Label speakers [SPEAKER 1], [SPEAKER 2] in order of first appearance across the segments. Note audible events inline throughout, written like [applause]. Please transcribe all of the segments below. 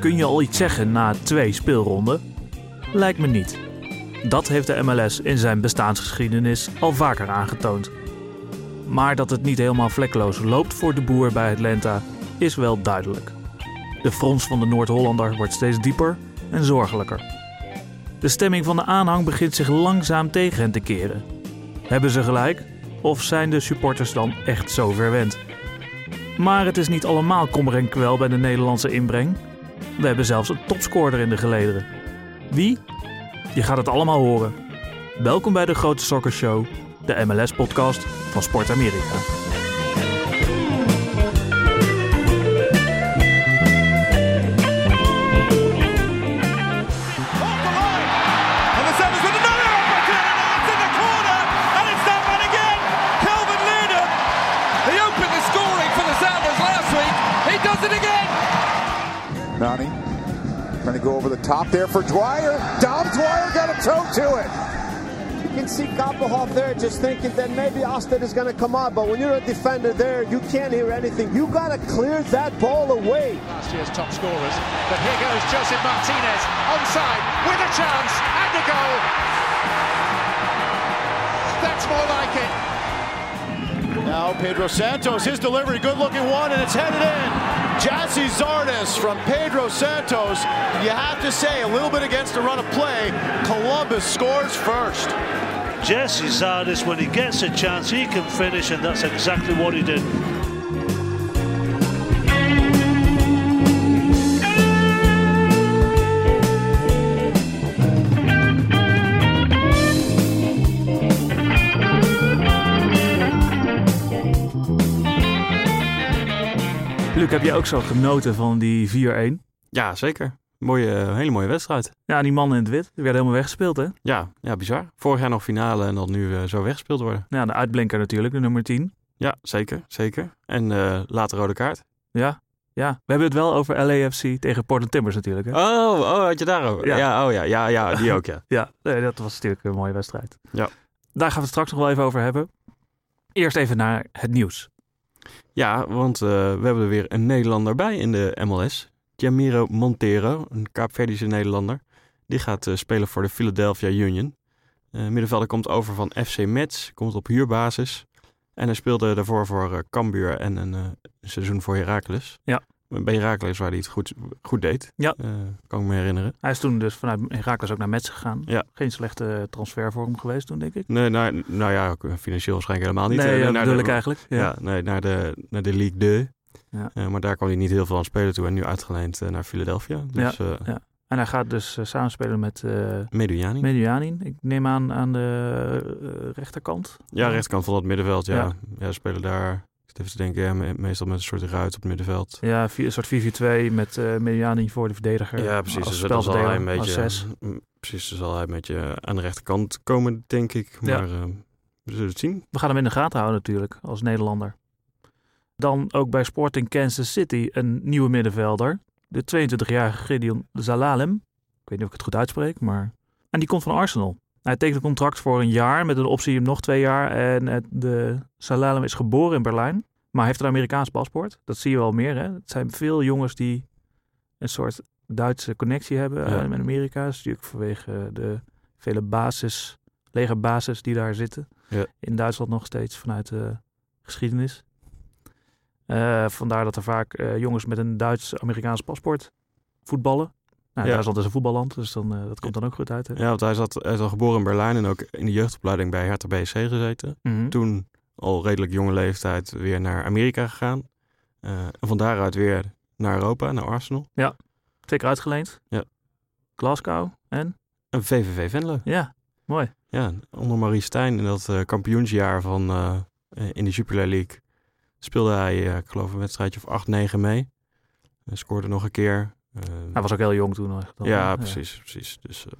[SPEAKER 1] Kun je al iets zeggen na twee speelronden? Lijkt me niet. Dat heeft de MLS in zijn bestaansgeschiedenis al vaker aangetoond. Maar dat het niet helemaal vlekloos loopt voor de boer bij Atlanta is wel duidelijk. De frons van de Noord-Hollander wordt steeds dieper en zorgelijker. De stemming van de aanhang begint zich langzaam tegen hen te keren. Hebben ze gelijk of zijn de supporters dan echt zo verwend? Maar het is niet allemaal kommer en kwel bij de Nederlandse inbreng. We hebben zelfs een topscorer in de gelederen. Wie? Je gaat het allemaal horen. Welkom bij de Grote Soccer Show, de MLS-podcast van Sport Amerika.
[SPEAKER 2] off the line. And the Sevens with another opportunity. It's in the corner. And it's that one again. Calvin Leonard. He opened the scoring for the Sounders last week. He does it again.
[SPEAKER 3] Nani trying to go over the top there for Dwyer. Dom Dwyer got a toe to it.
[SPEAKER 4] You can see Koppelhoff there just thinking that maybe Austin is going to come on, but when you're a defender there, you can't hear anything. You got to clear that ball away.
[SPEAKER 5] last year's top scorers. But here goes Joseph Martinez onside with a chance and a goal. That's more like it. Now Pedro Santos, his delivery, good looking one, and it's headed in. Jassy Zardes from Pedro Santos. You have to say, a little bit against the run of play, Columbus scores first.
[SPEAKER 6] Jesse Zardes, when he gets a chance, he can finish, and that's exactly what he did.
[SPEAKER 1] Luc, heb je ook zo genoten van die 4-1?
[SPEAKER 7] Ja, zeker. Mooie, eh, hele mooie wedstrijd.
[SPEAKER 1] Ja, die man in het wit. Die werd helemaal weggespeeld, hè?
[SPEAKER 7] Ja, ja, bizar. Vorig jaar nog finale en dan nu eh, zo weggespeeld worden.
[SPEAKER 1] Ja, de uitblinker natuurlijk, de nummer 10.
[SPEAKER 7] Ja, zeker, zeker. En eh later rode kaart.
[SPEAKER 1] Ja, ja. We hebben het wel over LAFC tegen Portland Timbers natuurlijk, hè?
[SPEAKER 7] Oh, oh, had je daarover?
[SPEAKER 1] Ja.
[SPEAKER 7] Ja, oh ja, ja, ja, die ook, ja.
[SPEAKER 1] Ja, nee, dat was natuurlijk een mooie wedstrijd.
[SPEAKER 7] Ja.
[SPEAKER 1] Daar gaan we het straks nog wel even over hebben. Eerst even naar het nieuws.
[SPEAKER 7] Ja, want eh, we hebben er weer een Nederlander bij in de MLS. Jamiro Montero, een Kaapverdische Nederlander. Die gaat eh, spelen voor de Philadelphia Union. Eh middenvelder komt over van FC Metz, komt op huurbasis. En hij speelde daarvoor voor eh, Cambuur en een eh, seizoen voor Heracles.
[SPEAKER 1] Ja.
[SPEAKER 7] Bij Heracles waar hij het goed, goed deed.
[SPEAKER 1] Ja.
[SPEAKER 7] Eh, kan ik me herinneren.
[SPEAKER 1] Hij is toen dus vanuit Herakles ook naar Mets gegaan.
[SPEAKER 7] Ja.
[SPEAKER 1] Geen slechte transfer voor hem geweest toen, denk ik.
[SPEAKER 7] Nee, nou, nou ja, ook, eh, financieel waarschijnlijk helemaal niet.
[SPEAKER 1] nee,
[SPEAKER 7] Eh,
[SPEAKER 1] dat
[SPEAKER 7] naar
[SPEAKER 1] bedoel
[SPEAKER 7] de-
[SPEAKER 1] ik eigenlijk. Ja.
[SPEAKER 7] Ja, nee, naar de, naar de League 2.
[SPEAKER 1] Ja.
[SPEAKER 7] Eh, maar daar kwam hij niet heel veel aan spelen toe. En nu uitgeleend eh, naar Philadelphia. Dus eh
[SPEAKER 1] En hij gaat dus eh, samenspelen met eh
[SPEAKER 7] Medujani.
[SPEAKER 1] Medianin. Ik neem aan aan de eh, rechterkant.
[SPEAKER 7] ja, rechterkant van dat middenveld. Ja,
[SPEAKER 1] Ja.
[SPEAKER 7] ja. spelen daar. Ik zit even te denken, ja, me- meestal met een soort ruit op het middenveld.
[SPEAKER 1] Ja, vi- een soort 4-4-2 met eh Medianin voor de verdediger.
[SPEAKER 7] Ja, precies.
[SPEAKER 1] Als
[SPEAKER 7] Dus dan zal hij een
[SPEAKER 1] spelverdeler, als
[SPEAKER 7] beetje,
[SPEAKER 1] zes.
[SPEAKER 7] mm, precies, dan zal hij een beetje aan de rechterkant komen, denk ik.
[SPEAKER 1] Ja.
[SPEAKER 7] Maar eh, we zullen het zien.
[SPEAKER 1] We gaan hem in de gaten houden natuurlijk, als Nederlander. Dan ook bij Sporting Kansas City een nieuwe middenvelder. De 22-jarige Gideon Zalalem. Ik weet niet of ik het goed uitspreek, maar... En die komt van Arsenal. Hij tekent een contract voor een jaar met een optie om nog twee jaar. En het- de Zalalem is geboren in Berlijn, maar heeft een Amerikaans paspoort. Dat zie je wel meer, hè. Het zijn veel jongens die een soort Duitse connectie hebben
[SPEAKER 7] Ja.
[SPEAKER 1] eh, met Amerika. Dat is natuurlijk vanwege de vele basis, legerbasis die daar zitten in Duitsland nog steeds vanuit eh, de geschiedenis. Eh, vandaar dat er vaak eh, jongens met een Duits-Amerikaans paspoort voetballen. Nou,
[SPEAKER 7] Ja.
[SPEAKER 1] Duitsland is een voetballand, dus dan, eh, dat komt dan ook goed uit. Hè?
[SPEAKER 7] Ja, want hij, zat, hij is al geboren in Berlijn en ook in de jeugdopleiding bij Hertha BSC gezeten.
[SPEAKER 1] Mhm.
[SPEAKER 7] toen al redelijk jonge leeftijd weer naar Amerika gegaan. Eh, en van daaruit weer naar Europa, naar Arsenal.
[SPEAKER 1] Twee keer uitgeleend.
[SPEAKER 7] Ja.
[SPEAKER 1] Glasgow en?
[SPEAKER 7] En VVV Venlo.
[SPEAKER 1] Ja, mooi.
[SPEAKER 7] Ja, onder Marie Stijn in dat eh, kampioensjaar van, eh, eh, in de Jupiler League speelde hij, eh, ik geloof, een wedstrijdje of 8-9 mee. En scoorde nog een keer. Eh,
[SPEAKER 1] Hij was ook heel jong toen. eh, Echt, al, Ah, hè?
[SPEAKER 7] ja, precies, precies. Dus, eh,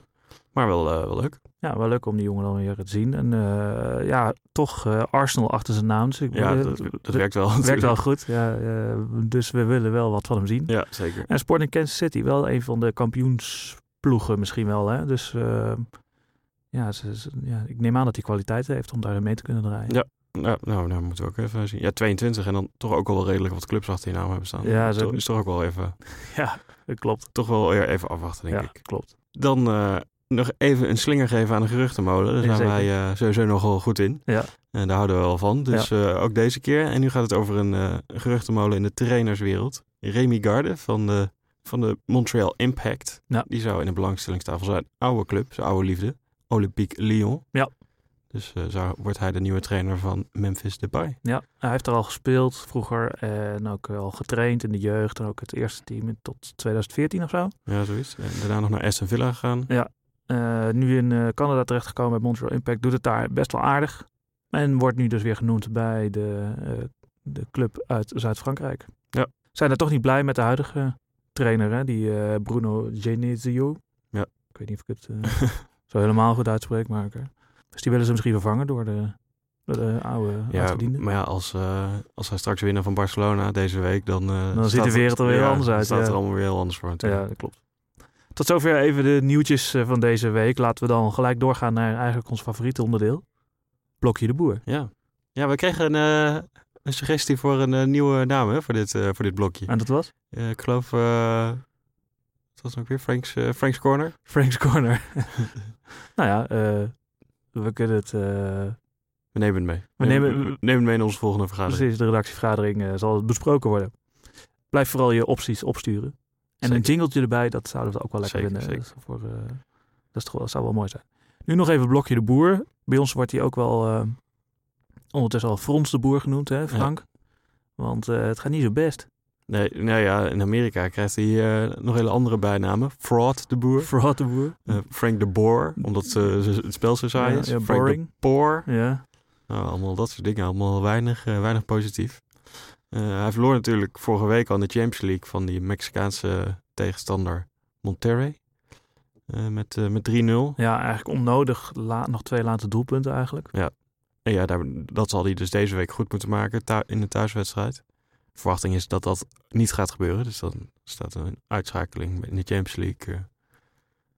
[SPEAKER 7] maar wel, eh, wel leuk.
[SPEAKER 1] Ja, wel leuk om die jongen dan weer te zien. En eh, ja, toch eh, Arsenal achter zijn naam. Dus ik,
[SPEAKER 7] Ja,
[SPEAKER 1] eh,
[SPEAKER 7] dat, dat
[SPEAKER 1] het
[SPEAKER 7] werkt wel.
[SPEAKER 1] werkt wel
[SPEAKER 7] natuurlijk.
[SPEAKER 1] goed. Ja, eh, dus we willen wel wat van hem zien.
[SPEAKER 7] Ja, zeker.
[SPEAKER 1] En Sporting Kansas City, wel een van de kampioensploegen misschien wel. Hè? ehm, Dus eh, ja, ze, ze- ja, ik neem aan dat hij kwaliteiten heeft om daarin mee te kunnen draaien.
[SPEAKER 7] Ja. Nou, nou, nou moeten we ook even zien. Ja, 22 en dan toch ook al wel redelijk wat clubs achter die naam hebben staan.
[SPEAKER 1] Ja, ze-
[SPEAKER 7] Toch- is toch ook wel even,
[SPEAKER 1] Dat Eh, klopt.
[SPEAKER 7] toch wel weer even afwachten, denk
[SPEAKER 1] ja,
[SPEAKER 7] ik.
[SPEAKER 1] klopt.
[SPEAKER 7] Dan eh, nog even een slinger geven aan de geruchtenmolen. Daar
[SPEAKER 1] Ja,
[SPEAKER 7] zijn
[SPEAKER 1] zeker.
[SPEAKER 7] wij eh, sowieso nogal goed in.
[SPEAKER 1] Ja.
[SPEAKER 7] En daar houden we wel van. Dus eh, ook deze keer. En nu gaat het over een eh, geruchtenmolen in de trainerswereld. Remy Garde van de, van de Montreal Impact.
[SPEAKER 1] Ja.
[SPEAKER 7] Die zou in de belangstellingstafel zijn. Oude club, zijn oude liefde. Olympique Lyon.
[SPEAKER 1] Ja.
[SPEAKER 7] Dus eh, zou, wordt hij de nieuwe trainer van Memphis Depay.
[SPEAKER 1] Ja, hij heeft er al gespeeld vroeger en ook al getraind in de jeugd en ook het eerste team tot 2014 of zo.
[SPEAKER 7] Ja, zoiets. En daarna nog naar Aston Villa gegaan.
[SPEAKER 1] Eh, nu in eh, Canada terechtgekomen bij Montreal Impact, doet het daar best wel aardig. En wordt nu dus weer genoemd bij de, eh, de club uit Zuid-Frankrijk.
[SPEAKER 7] Ja.
[SPEAKER 1] Zijn er toch niet blij met de huidige trainer, hè? die eh, Bruno Genesio.
[SPEAKER 7] Ja.
[SPEAKER 1] Ik weet niet of ik het eh, zo helemaal goed uitspreek, maar ik, eh, dus die willen ze misschien vervangen door de, door de oude
[SPEAKER 7] Ja,
[SPEAKER 1] uitgediende.
[SPEAKER 7] maar ja, als, eh, als hij straks winnen van Barcelona deze week, dan... eh,
[SPEAKER 1] ziet
[SPEAKER 7] staat
[SPEAKER 1] de wereld er weer
[SPEAKER 7] ja,
[SPEAKER 1] anders
[SPEAKER 7] dan
[SPEAKER 1] uit,
[SPEAKER 7] staat
[SPEAKER 1] ja.
[SPEAKER 7] er allemaal weer heel anders voor natuurlijk.
[SPEAKER 1] Ja, dat klopt. Tot zover even de nieuwtjes eh, van deze week. Laten we dan gelijk doorgaan naar eigenlijk ons favoriete onderdeel. Blokje de boer.
[SPEAKER 7] Ja. Ja, we kregen een, eh, een suggestie voor een eh, nieuwe naam hè, voor, dit, eh, voor dit blokje.
[SPEAKER 1] En dat was?
[SPEAKER 7] Eh, ik geloof... eh, wat was het ook weer? Frank's, eh, Frank's Corner?
[SPEAKER 1] Frank's Corner. [laughs] nou ja, eh, we kunnen het... eh,
[SPEAKER 7] We nemen het mee.
[SPEAKER 1] We nemen-
[SPEAKER 7] we nemen het mee in onze volgende vergadering.
[SPEAKER 1] precies, de redactievergadering eh, zal het besproken worden. Blijf vooral je opties opsturen. En een
[SPEAKER 7] Zeker.
[SPEAKER 1] jingletje erbij, dat zouden we ook wel lekker
[SPEAKER 7] Zeker,
[SPEAKER 1] vinden.
[SPEAKER 7] zeker.
[SPEAKER 1] Dat, is voor, eh, dat is toch wel, zou wel mooi zijn. Nu nog even Blokje de Boer. Bij ons wordt hij ook wel eh, ondertussen al Frons de Boer genoemd, hè Frank? Want eh, het gaat niet zo best.
[SPEAKER 7] Nee, nou ja, in Amerika krijgt hij eh, nog hele andere bijnamen. Fraud de Boer.
[SPEAKER 1] Fraud de Boer.
[SPEAKER 7] eh, Frank de Boer, omdat ze, ze- het spel zo saai
[SPEAKER 1] Ja,
[SPEAKER 7] is.
[SPEAKER 1] ja,
[SPEAKER 7] Frank
[SPEAKER 1] boring.
[SPEAKER 7] de Poor.
[SPEAKER 1] Ja,
[SPEAKER 7] Nou, allemaal dat soort dingen. Allemaal weinig, eh, weinig positief. Eh, hij verloor natuurlijk vorige week al in de Champions League van die Mexicaanse tegenstander Monterrey. Eh, met eh, met 3-0.
[SPEAKER 1] ja eigenlijk onnodig. La- nog twee late doelpunten eigenlijk.
[SPEAKER 7] En ja, daar, dat zal hij dus deze week goed moeten maken thu- in de thuiswedstrijd. Verwachting is dat dat niet gaat gebeuren. Dus dan staat een uitschakeling in de Champions League.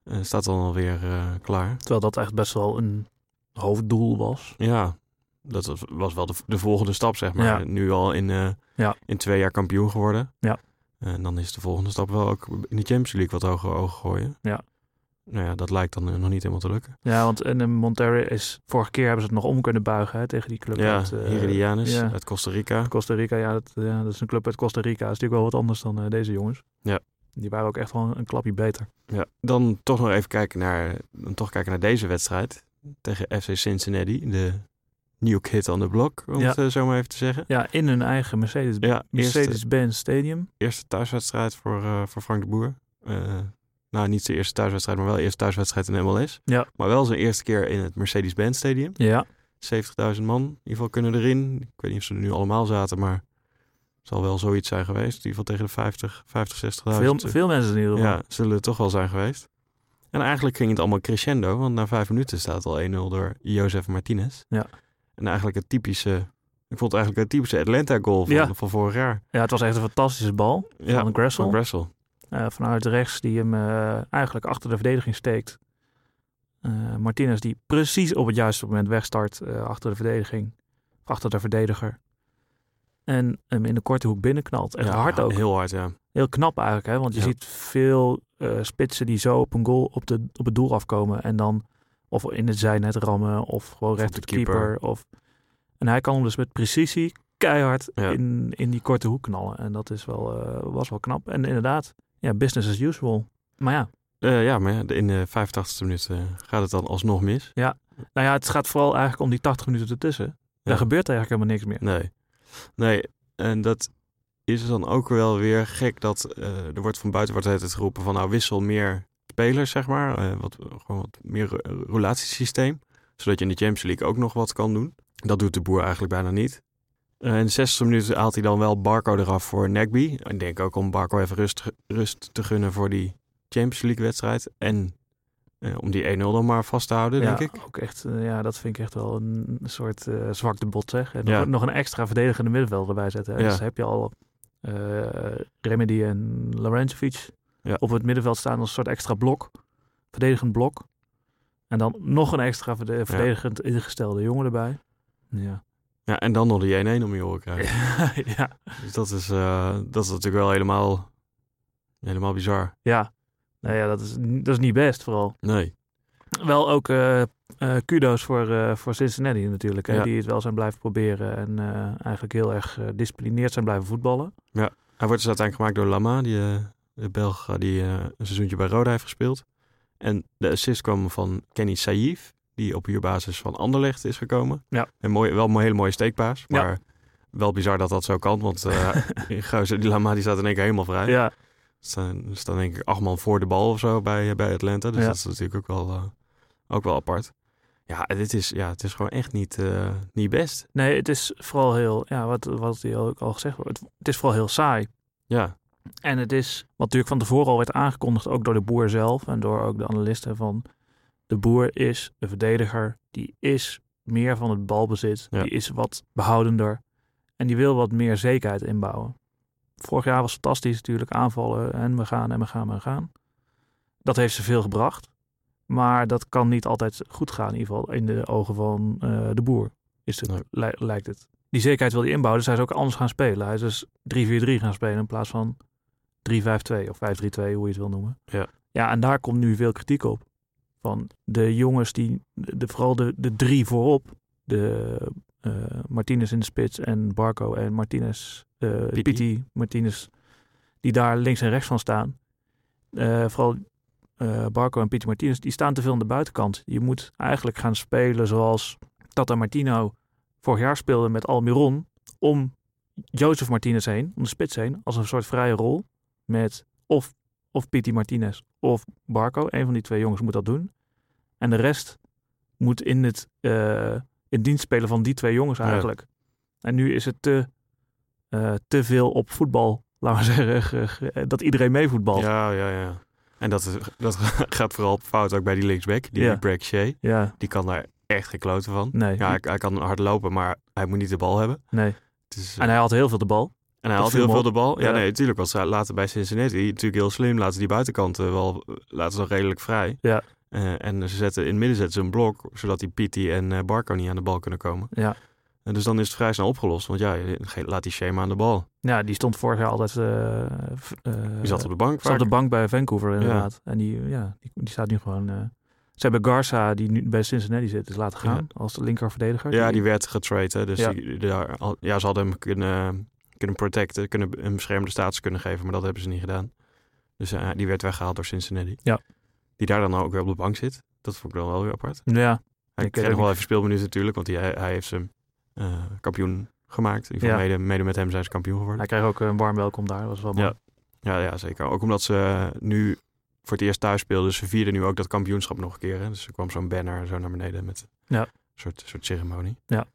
[SPEAKER 7] eh, eh, staat dan alweer eh, klaar.
[SPEAKER 1] Terwijl dat echt best wel een hoofddoel was.
[SPEAKER 7] Ja, dat was- was wel de, de volgende stap, zeg maar.
[SPEAKER 1] Ja.
[SPEAKER 7] Nu al in, eh,
[SPEAKER 1] Ja.
[SPEAKER 7] in twee jaar kampioen geworden.
[SPEAKER 1] Ja.
[SPEAKER 7] En dan is de volgende stap wel ook in de Champions League wat hoger ogen gooien.
[SPEAKER 1] Ja.
[SPEAKER 7] Nou ja, dat lijkt dan eh, nog niet helemaal te lukken.
[SPEAKER 1] Ja, want en eh, Monterrey is... Vorige keer hebben ze het nog om kunnen buigen hè, tegen die club
[SPEAKER 7] ja,
[SPEAKER 1] uit eh,
[SPEAKER 7] Heredianes
[SPEAKER 1] ja.
[SPEAKER 7] uit Costa Rica.
[SPEAKER 1] Costa Rica. Ja dat, ja, dat is een club uit Costa Rica. Dat is natuurlijk wel wat anders dan eh, deze jongens.
[SPEAKER 7] Ja.
[SPEAKER 1] Die waren ook echt wel een, een klapje beter.
[SPEAKER 7] Ja. Dan toch nog even kijken naar, dan toch kijken naar deze wedstrijd. Tegen FC Cincinnati, de new kid on the block, om
[SPEAKER 1] Ja.
[SPEAKER 7] het eh, zo maar even te zeggen.
[SPEAKER 1] Ja, in hun eigen Mercedes,
[SPEAKER 7] Ja, eerste,
[SPEAKER 1] Mercedes-Benz Stadium.
[SPEAKER 7] eerste thuiswedstrijd voor, eh, voor Frank de Boer. Eh, nou, niet zijn eerste thuiswedstrijd, maar wel eerste thuiswedstrijd in de MLS.
[SPEAKER 1] Ja.
[SPEAKER 7] Maar wel zijn eerste keer in het Mercedes-Benz Stadium.
[SPEAKER 1] Ja,
[SPEAKER 7] 70.000 man in ieder geval kunnen erin. Ik weet niet of ze er nu allemaal zaten, maar het zal wel zoiets zijn geweest. In ieder geval tegen de 50, 50 60.000.
[SPEAKER 1] veel, veel mensen in ieder geval.
[SPEAKER 7] Ja, zullen het toch wel zijn geweest. En eigenlijk ging het allemaal crescendo, want na vijf minuten staat al 1-0 door Jozef Martinez.
[SPEAKER 1] Ja.
[SPEAKER 7] En eigenlijk het typische, ik vond het eigenlijk het typische Atlanta goal van,
[SPEAKER 1] Ja.
[SPEAKER 7] van vorig jaar.
[SPEAKER 1] Ja, het was echt een fantastische bal
[SPEAKER 7] Ja,
[SPEAKER 1] van Gressel.
[SPEAKER 7] van Gressel.
[SPEAKER 1] Eh, vanuit rechts die hem eh, eigenlijk achter de verdediging steekt. Eh Martinez die precies op het juiste moment wegstart eh, achter de verdediging. Of Achter de verdediger. En hem in de korte hoek binnenknalt. Echt
[SPEAKER 7] Ja,
[SPEAKER 1] hard ook. Heel,
[SPEAKER 7] Heel hard, ja.
[SPEAKER 1] knap eigenlijk. Hè? Want je
[SPEAKER 7] Ja.
[SPEAKER 1] ziet veel eh, spitsen die zo op een goal op, de, op het doel afkomen. En dan of in het zijnet rammen. Of gewoon recht
[SPEAKER 7] de
[SPEAKER 1] op de keeper.
[SPEAKER 7] keeper.
[SPEAKER 1] of... En hij kan hem dus met precisie keihard
[SPEAKER 7] Ja.
[SPEAKER 1] in, in die korte hoek knallen. En dat is wel, eh, was wel knap. En inderdaad, ja, business as usual. Maar ja,
[SPEAKER 7] Eh, ja, maar ja, in de 85e minuut eh, gaat het dan alsnog mis.
[SPEAKER 1] nou ja, het gaat vooral eigenlijk om die 80 minuten ertussen. Daar gebeurt eigenlijk helemaal niks meer.
[SPEAKER 7] Nee. Nee, en dat is dan ook wel weer gek dat eh, er wordt van buiten wordt het geroepen van nou wissel meer spelers, zeg maar. Eh, wat, gewoon wat meer ro- relatiesysteem. Zodat je in de Champions League ook nog wat kan doen. Dat doet de boer eigenlijk bijna niet. Eh, in de 60 minuten haalt hij dan wel Barco eraf voor Nagby. Ik denk ook om Barco even rust, rust te gunnen voor die Champions League wedstrijd. En eh, om die 1-0 dan maar vast te houden,
[SPEAKER 1] ja,
[SPEAKER 7] denk ik.
[SPEAKER 1] Ook echt, eh, ja, dat vind ik echt wel een soort eh, zwakte bot, zeg. En
[SPEAKER 7] Ja.
[SPEAKER 1] nog, nog een extra verdedigende middenvelder erbij zetten. hè.
[SPEAKER 7] Ja.
[SPEAKER 1] Dus heb je al eh, Remedy en Laurentijevic
[SPEAKER 7] Ja.
[SPEAKER 1] op het middenveld staan als een soort extra blok. Verdedigend blok. En dan nog een extra verde- verdedigend ingestelde jongen erbij. Ja.
[SPEAKER 7] Ja, en dan nog de 1-1 om je horen
[SPEAKER 1] [laughs]
[SPEAKER 7] krijgen.
[SPEAKER 1] ja,
[SPEAKER 7] Dus dat is, eh, dat is natuurlijk wel helemaal, helemaal bizar.
[SPEAKER 1] ja. Nou ja, dat is, dat is niet best vooral.
[SPEAKER 7] Nee.
[SPEAKER 1] Wel ook eh, eh, kudo's voor, eh, voor Cincinnati natuurlijk. Hè,
[SPEAKER 7] Ja.
[SPEAKER 1] Die het wel zijn blijven proberen en eh, eigenlijk heel erg eh disciplineerd zijn blijven voetballen.
[SPEAKER 7] Hij wordt dus uiteindelijk gemaakt door Lama, die, eh, de Belg eh, die eh, een seizoentje bij Roda heeft gespeeld. En de assist kwam van Kenny Saïf, die op huurbasis van Anderlecht is gekomen.
[SPEAKER 1] Ja.
[SPEAKER 7] En mooi, wel een hele mooie steekpaas,
[SPEAKER 1] Ja.
[SPEAKER 7] maar wel bizar dat dat zo kan,
[SPEAKER 1] [laughs]
[SPEAKER 7] want eh die gozer, die Lama die staat in één keer helemaal vrij.
[SPEAKER 1] Ja,
[SPEAKER 7] staan, er staan denk ik acht man voor de bal of zo bij, bij Atlanta. Dus
[SPEAKER 1] Ja.
[SPEAKER 7] dat is natuurlijk ook wel, eh, ook wel apart. Ja, en dit is, ja, het is gewoon echt niet, eh, niet best.
[SPEAKER 1] nee, het is vooral heel, ja, wat, wat hier ook al gezegd wordt, het is vooral heel saai.
[SPEAKER 7] Ja,
[SPEAKER 1] En het is, wat natuurlijk van tevoren al werd aangekondigd, ook door de boer zelf en door ook de analisten van de boer is een verdediger, die is meer van het balbezit,
[SPEAKER 7] Ja.
[SPEAKER 1] die is wat behoudender en die wil wat meer zekerheid inbouwen. Vorig jaar was fantastisch natuurlijk aanvallen en we gaan en we gaan en we gaan. Dat heeft ze veel gebracht, maar dat kan niet altijd goed gaan in ieder geval in de ogen van eh, de boer, is het,
[SPEAKER 7] Nee.
[SPEAKER 1] lij- lijkt het. Die zekerheid wil hij inbouwen, dus hij is ook anders gaan spelen. Hij is dus 3-4-3 gaan spelen in plaats van 3-5-2 of 5-3-2, hoe je het wil noemen.
[SPEAKER 7] Ja.
[SPEAKER 1] ja, en daar komt nu veel kritiek op. Van de jongens die, de, vooral de, de drie voorop, de eh, Martinez in de spits en Barco en Martinez, eh
[SPEAKER 7] Piti.
[SPEAKER 1] Piti Martinez, die daar links en rechts van staan. Eh, vooral eh, Barco en Piti Martinez, die staan te veel aan de buitenkant. Je moet eigenlijk gaan spelen zoals Tata Martino vorig jaar speelde met Almiron, om Jozef Martinez heen, om de spits heen, als een soort vrije rol met of, of Piti Martinez of Barco. Een van die twee jongens moet dat doen. En de rest moet in het eh, in dienst spelen van die twee jongens
[SPEAKER 7] Ja.
[SPEAKER 1] eigenlijk. En nu is het te, eh, te veel op voetbal, [laughs] laten we zeggen, ge- ge- dat iedereen meevoetbalt. Ja.
[SPEAKER 7] ja, ja, ja. En dat, is, dat [laughs] gaat vooral fout ook bij die linksback, die
[SPEAKER 1] Ja.
[SPEAKER 7] Brad Shea.
[SPEAKER 1] ja,
[SPEAKER 7] Die kan daar echt geen kloten van.
[SPEAKER 1] nee.
[SPEAKER 7] Ja, hij, hij kan hard lopen, maar hij moet niet de bal hebben.
[SPEAKER 1] nee.
[SPEAKER 7] Het is, eh,
[SPEAKER 1] En hij had heel veel de bal.
[SPEAKER 7] En hij
[SPEAKER 1] Dat
[SPEAKER 7] had
[SPEAKER 1] viel
[SPEAKER 7] heel
[SPEAKER 1] me
[SPEAKER 7] veel
[SPEAKER 1] op.
[SPEAKER 7] de bal. Ja,
[SPEAKER 1] Ja.
[SPEAKER 7] nee, natuurlijk. Want ze laten bij Cincinnati natuurlijk heel slim. Laten ze die buitenkanten wel, laten ze wel redelijk vrij.
[SPEAKER 1] Ja.
[SPEAKER 7] Eh, en ze zetten, in het midden zetten ze een blok, zodat die Pitti en eh, Barco niet aan de bal kunnen komen.
[SPEAKER 1] Ja.
[SPEAKER 7] En dus dan is het vrij snel opgelost. Want ja, je- ge- laat die Schema aan de bal.
[SPEAKER 1] Ja, die stond vorig jaar altijd... eh, v- eh,
[SPEAKER 7] Die zat op de bank.
[SPEAKER 1] Zat op de
[SPEAKER 7] vaak.
[SPEAKER 1] bank bij Vancouver inderdaad. En die, ja, die, die staat nu gewoon... eh, ze hebben Garza, die nu bij Cincinnati zit, is laten gaan als de linker verdediger.
[SPEAKER 7] Ja, die werd getrade. hè. Dus
[SPEAKER 1] Ja.
[SPEAKER 7] die- die daar al- ja, ze hadden hem kunnen, kunnen protecten, kunnen een beschermde status kunnen geven. Maar dat hebben ze niet gedaan. Dus eh, die werd weggehaald door Cincinnati.
[SPEAKER 1] Ja.
[SPEAKER 7] Die daar dan ook weer op de bank zit. Dat vond ik dan wel weer apart.
[SPEAKER 1] Ja, Ik
[SPEAKER 7] Hij
[SPEAKER 1] eh,
[SPEAKER 7] kreeg
[SPEAKER 1] weet
[SPEAKER 7] nog
[SPEAKER 1] ook
[SPEAKER 7] wel even speelminuten natuurlijk, want hij, hij heeft zijn eh, kampioen gemaakt. In ieder geval mede, mede met hem zijn ze kampioen geworden.
[SPEAKER 1] hij kreeg ook een warm welkom daar. Dat was wel mooi.
[SPEAKER 7] Ja. Ja, ja, zeker. Ook omdat ze eh, nu voor het eerst thuis speelden. Dus ze vierden nu ook dat kampioenschap nog een keer. Hè. Dus er kwam zo'n banner zo naar beneden met
[SPEAKER 1] Ja.
[SPEAKER 7] een soort, soort ceremonie.
[SPEAKER 1] Ja.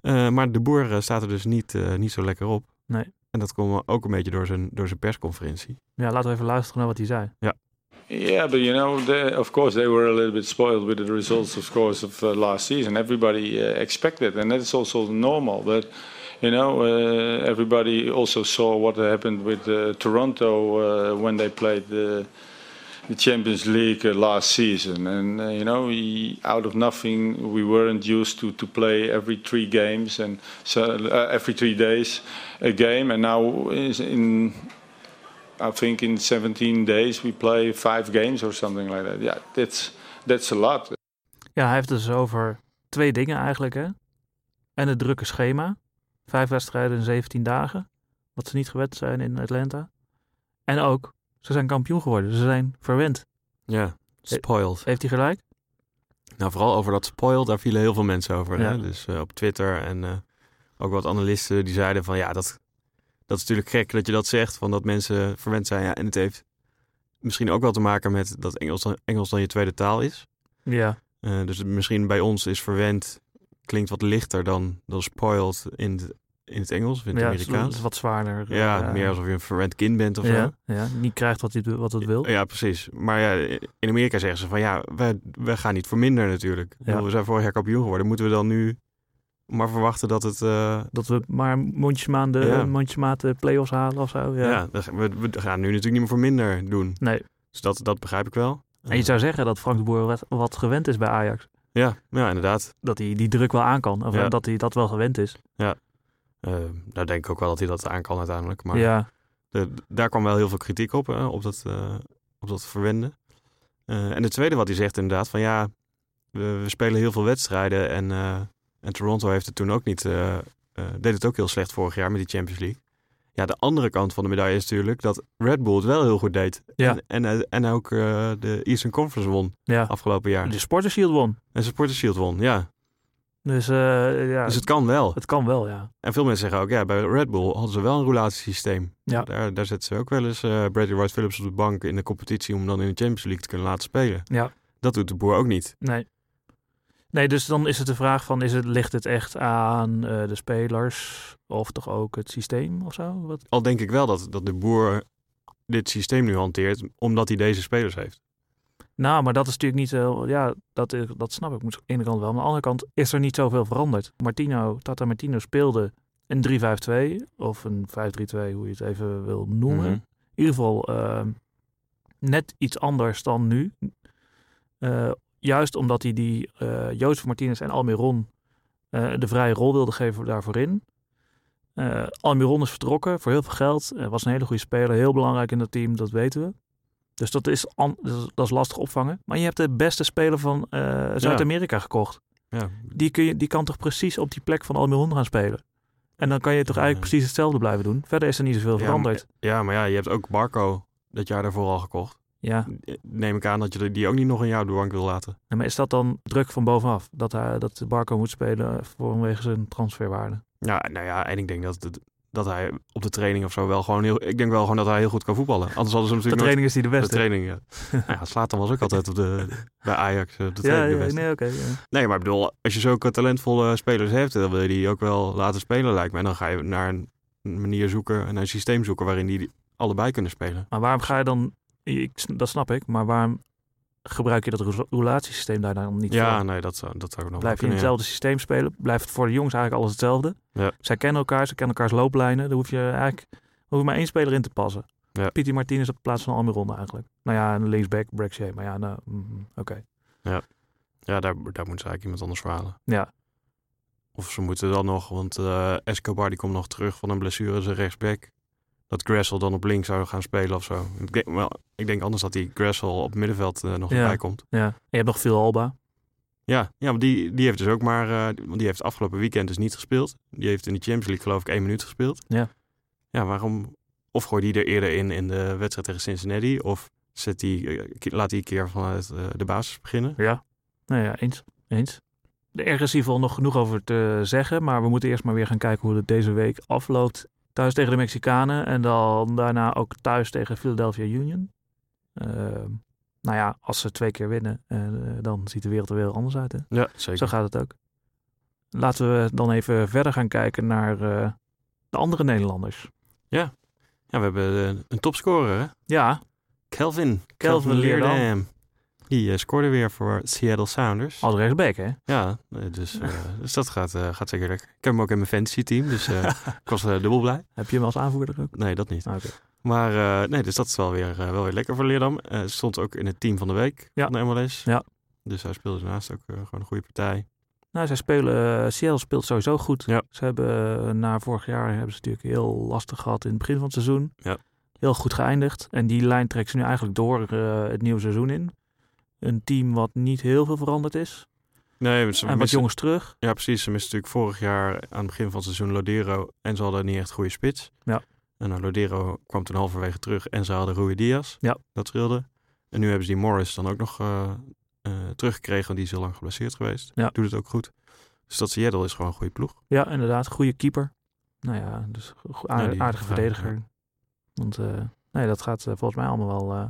[SPEAKER 7] Eh, maar de boer eh, staat er dus niet, eh, niet zo lekker op.
[SPEAKER 1] Nee.
[SPEAKER 7] En dat kwam ook een beetje door zijn, door zijn persconferentie.
[SPEAKER 1] Ja, laten we even luisteren naar wat hij zei.
[SPEAKER 8] Yeah, but you know, they, of course, they were a little bit spoiled with the results, of course, of uh, last season. Everybody uh, expected, and that's also normal. But you know, uh, everybody also saw what happened with uh, Toronto uh, when they played the, the Champions League uh, last season. And uh, you know, we, out of nothing, we weren't used to, to play every three games and so uh, every three days a game, and now is in I think in 17 days we play five games or something like that. Yeah, that's that's a lot.
[SPEAKER 1] Ja, hij heeft dus over twee dingen eigenlijk. Hè? En het drukke schema. Vijf wedstrijden in 17 dagen. Wat ze niet gewend zijn in Atlanta. En ook, ze zijn kampioen geworden. Ze zijn verwend. Eh,
[SPEAKER 7] Ja, spoiled.
[SPEAKER 1] Heeft hij gelijk?
[SPEAKER 7] Nou, vooral over dat spoil, daar vielen heel veel mensen over.
[SPEAKER 1] Ja.
[SPEAKER 7] Hè? Dus eh, op Twitter en eh, ook wat analisten die zeiden van ja, dat, dat is natuurlijk gek dat je dat zegt, van dat mensen verwend zijn. Ja, en het heeft misschien ook wel te maken met dat Engels dan, Engels dan je tweede taal is.
[SPEAKER 1] Ja.
[SPEAKER 7] Eh, dus misschien bij ons is verwend klinkt wat lichter dan, dan spoiled in het, in het Engels of in het
[SPEAKER 1] ja, het is- het
[SPEAKER 7] Amerikaans.
[SPEAKER 1] is wat zwaarder.
[SPEAKER 7] Ja,
[SPEAKER 1] eh,
[SPEAKER 7] meer alsof je een verwend kind bent of zo.
[SPEAKER 1] ja, ja, niet krijgt wat, hij, wat het wil.
[SPEAKER 7] Ja, precies. Maar ja, in Amerika zeggen ze van ja, wij, wij gaan niet voor minder natuurlijk. Ik
[SPEAKER 1] Ja.
[SPEAKER 7] bedoel, We zijn vorig jaar kampioen geworden. Moeten we dan nu maar verwachten dat het... eh,
[SPEAKER 1] Dat we maar mondjesmaat de,
[SPEAKER 7] Ja.
[SPEAKER 1] mondjesmaat de play-offs halen of zo.
[SPEAKER 7] ja,
[SPEAKER 1] Ja.
[SPEAKER 7] we, we gaan nu natuurlijk niet meer voor minder doen.
[SPEAKER 1] Nee.
[SPEAKER 7] Dus dat, dat begrijp ik wel.
[SPEAKER 1] En je zou zeggen dat Frank de Boer wat, wat gewend is bij Ajax.
[SPEAKER 7] Ja, Ja, ja inderdaad.
[SPEAKER 1] Dat hij die druk wel aan kan. Of
[SPEAKER 7] Ja.
[SPEAKER 1] dat hij dat wel gewend is.
[SPEAKER 7] Eh, daar denk ik ook wel dat hij dat aan kan uiteindelijk. Maar
[SPEAKER 1] Ja.
[SPEAKER 7] de- daar kwam wel heel veel kritiek op, hè, op, dat, eh, op dat verwenden. Eh, en het tweede wat hij zegt inderdaad, van ja, we, we spelen heel veel wedstrijden. En, eh, en Toronto heeft het toen ook niet, eh, eh, deed het ook heel slecht vorig jaar met die Champions League. Ja, de andere kant van de medaille is natuurlijk dat Red Bull het wel heel goed deed.
[SPEAKER 1] Ja.
[SPEAKER 7] En, en, eh, en ook eh, de Eastern Conference won
[SPEAKER 1] ja. Dus-
[SPEAKER 7] afgelopen jaar.
[SPEAKER 1] De Sporters Shield won.
[SPEAKER 7] En Supporters Shield won, ja.
[SPEAKER 1] Dus, eh, ja, het,
[SPEAKER 7] Dus het kan wel.
[SPEAKER 1] kan wel, ja.
[SPEAKER 7] En veel mensen zeggen ook, ja, bij Red Bull hadden ze wel een roulatiesysteem.
[SPEAKER 1] Ja.
[SPEAKER 7] Daar, daar zetten ze ook wel eens eh Brady Wright Phillips op de bank in de competitie om hem dan in de Champions League te kunnen laten spelen.
[SPEAKER 1] Ja.
[SPEAKER 7] Dat doet de boer ook niet.
[SPEAKER 1] Nee. Nee, dus dan is het de vraag van, is het, ligt het echt aan eh, de spelers of toch ook het systeem of zo? Wat?
[SPEAKER 7] Al denk ik wel dat, dat de boer dit systeem nu hanteert omdat hij deze spelers heeft.
[SPEAKER 1] Nou, maar dat is natuurlijk niet heel... Ja, dat, is- dat snap ik aan de ene kant wel. Maar aan de andere kant is er niet zoveel veranderd. Martino, Tata Martino speelde een 3-5-2 of een 5-3-2, hoe je het even wil noemen.
[SPEAKER 7] Mhm.
[SPEAKER 1] in ieder geval eh, net iets anders dan nu. Eh, juist omdat hij die eh Joost Martinez en Almiron eh, de vrije rol wilde geven daarvoor in. Eh, Almiron is vertrokken voor heel veel geld. Eh, was een hele goede speler, heel belangrijk in dat team, dat weten we. Dus dat is, an- dat is- dat is lastig opvangen. Maar je hebt de beste speler van eh, Zuid-Amerika gekocht.
[SPEAKER 7] Ja.
[SPEAKER 1] Die, kun je, die kan toch precies op die plek van Almiron gaan spelen. En dan kan je toch eigenlijk
[SPEAKER 7] Ja.
[SPEAKER 1] precies hetzelfde blijven doen. Verder is er niet zoveel
[SPEAKER 7] Ja,
[SPEAKER 1] veranderd.
[SPEAKER 7] ja, maar ja, je hebt ook Barco dat jaar daarvoor al gekocht.
[SPEAKER 1] Ja.
[SPEAKER 7] Neem ik aan dat je die ook niet nog een jaar op de bank wil laten.
[SPEAKER 1] Ja, maar is dat dan druk van bovenaf? Dat, hij, dat Barco moet spelen vanwege zijn transferwaarde?
[SPEAKER 7] Ja, nou ja, en ik denk dat, het- dat hij op de training of zo wel gewoon heel... Ik denk wel gewoon dat hij heel goed kan voetballen. Anders hadden ze hem
[SPEAKER 1] De
[SPEAKER 7] natuurlijk
[SPEAKER 1] training is
[SPEAKER 7] nooit
[SPEAKER 1] die de
[SPEAKER 7] De
[SPEAKER 1] beste.
[SPEAKER 7] training, ja. nou ja, Slatan was ook altijd op de, bij Ajax eh, op de
[SPEAKER 1] ja,
[SPEAKER 7] training.
[SPEAKER 1] ja,
[SPEAKER 7] de beste. nee.
[SPEAKER 1] nee, oké. ja.
[SPEAKER 7] maar ik bedoel, als je zulke talentvolle spelers hebt, dan wil je die ook wel laten spelen, lijkt me. En dan ga je naar een manier zoeken en een systeem zoeken waarin die die allebei kunnen spelen.
[SPEAKER 1] Maar waarom ga je dan... Ik, dat snap ik, maar waarom gebruik je dat rou- roulatiesysteem daar dan niet
[SPEAKER 7] ja,
[SPEAKER 1] voor?
[SPEAKER 7] nee, dat zou, dat zou ik nog
[SPEAKER 1] Blijf je in
[SPEAKER 7] wel kunnen,
[SPEAKER 1] hetzelfde systeem spelen? Blijft het voor de jongens eigenlijk alles hetzelfde?
[SPEAKER 7] Ja.
[SPEAKER 1] Zij kennen elkaar, ze kennen elkaars looplijnen. Daar hoef je eigenlijk hoef je maar één speler in te passen.
[SPEAKER 7] Ja.
[SPEAKER 1] Pieter Martinez op de plaats van Almiron eigenlijk. Nou ja, een linksback, Brexie. Maar ja, nou, mm, oké.
[SPEAKER 7] ja. Ja, daar, daar moeten ze eigenlijk iemand anders voor halen.
[SPEAKER 1] Ja.
[SPEAKER 7] Of ze moeten dan nog, want eh, Escobar die komt nog terug van een blessure, zijn rechtsback. Dat Gressel dan op links zou gaan spelen of zo. Ik denk, wel, ik denk anders dat die Gressel op middenveld eh, nog
[SPEAKER 1] Ja.
[SPEAKER 7] bij komt.
[SPEAKER 1] Ja. En je hebt nog veel Alba.
[SPEAKER 7] Ja, ja want die, die heeft dus ook maar... eh, want die heeft afgelopen weekend dus niet gespeeld. Die heeft in de Champions League geloof ik één minuut gespeeld.
[SPEAKER 1] Ja.
[SPEAKER 7] Ja, waarom... Of gooi die er eerder in in de wedstrijd tegen Cincinnati. Of zet die, eh, ki- laat die een keer vanuit eh, de basis beginnen.
[SPEAKER 1] Ja, nou ja, eens. eens. Er is in ieder geval nog genoeg over te zeggen, maar we moeten eerst maar weer gaan kijken hoe het deze week afloopt. Thuis tegen de Mexicanen en dan daarna ook thuis tegen Philadelphia Union. Ehm, nou ja, als ze twee keer winnen, eh, dan ziet de wereld er weer anders uit. Hè?
[SPEAKER 7] Ja, zeker.
[SPEAKER 1] Zo gaat het ook. Laten we dan even verder gaan kijken naar eh, de andere Nederlanders.
[SPEAKER 7] Ja, we hebben eh, een topscorer, hè?
[SPEAKER 1] Ja,
[SPEAKER 7] Kelvin.
[SPEAKER 1] Leerdam.
[SPEAKER 7] Die eh, scoorde weer voor Seattle Sounders.
[SPEAKER 1] als rechtsback hè?
[SPEAKER 7] Ja, eh, dus, eh, dus dat gaat, eh, gaat zeker lekker. Ik heb hem ook in mijn fantasy-team, dus [laughs] eh, ik was eh, dubbel blij.
[SPEAKER 1] Heb je hem als aanvoerder ook?
[SPEAKER 7] Nee, dat niet.
[SPEAKER 1] Ah, Oké.
[SPEAKER 7] Maar eh, nee, dus dat is wel weer, eh, wel weer lekker voor Leerdam. Eh, Ze stond ook in het team van de week
[SPEAKER 1] Ja.
[SPEAKER 7] van de MLS.
[SPEAKER 1] Ja.
[SPEAKER 7] Dus hij speelde daarnaast ook eh, gewoon een goede partij.
[SPEAKER 1] Nou, zij spelen, eh, Seattle speelt sowieso goed.
[SPEAKER 7] Ja.
[SPEAKER 1] Ze hebben eh, na vorig jaar hebben ze natuurlijk heel lastig gehad in het begin van het seizoen.
[SPEAKER 7] Ja.
[SPEAKER 1] Heel goed geëindigd. En die lijn trekt ze nu eigenlijk door eh, het nieuwe seizoen in. Een team wat niet heel veel veranderd is.
[SPEAKER 7] Nee, maar ze
[SPEAKER 1] en wat
[SPEAKER 7] misten-
[SPEAKER 1] jongens terug.
[SPEAKER 7] Ja, precies. Ze misten natuurlijk vorig jaar aan het begin van het seizoen Lodero. En ze hadden niet echt goede spits.
[SPEAKER 1] Ja.
[SPEAKER 7] En nou, Lodero kwam toen halverwege terug. En ze hadden Rui Diaz.
[SPEAKER 1] Ja.
[SPEAKER 7] Dat scheelde. En nu hebben ze die Morris dan ook nog eh, eh, teruggekregen. Want die is heel lang geblesseerd geweest.
[SPEAKER 1] Ja.
[SPEAKER 7] Doet het ook goed. Dus dat Seattle is gewoon een goede ploeg.
[SPEAKER 1] Ja, inderdaad. Goede keeper. Nou ja, dus go- aard-
[SPEAKER 7] Ja, die-
[SPEAKER 1] aardige
[SPEAKER 7] ja,
[SPEAKER 1] verdediger. Want eh, nee, dat gaat eh, volgens mij allemaal wel eh,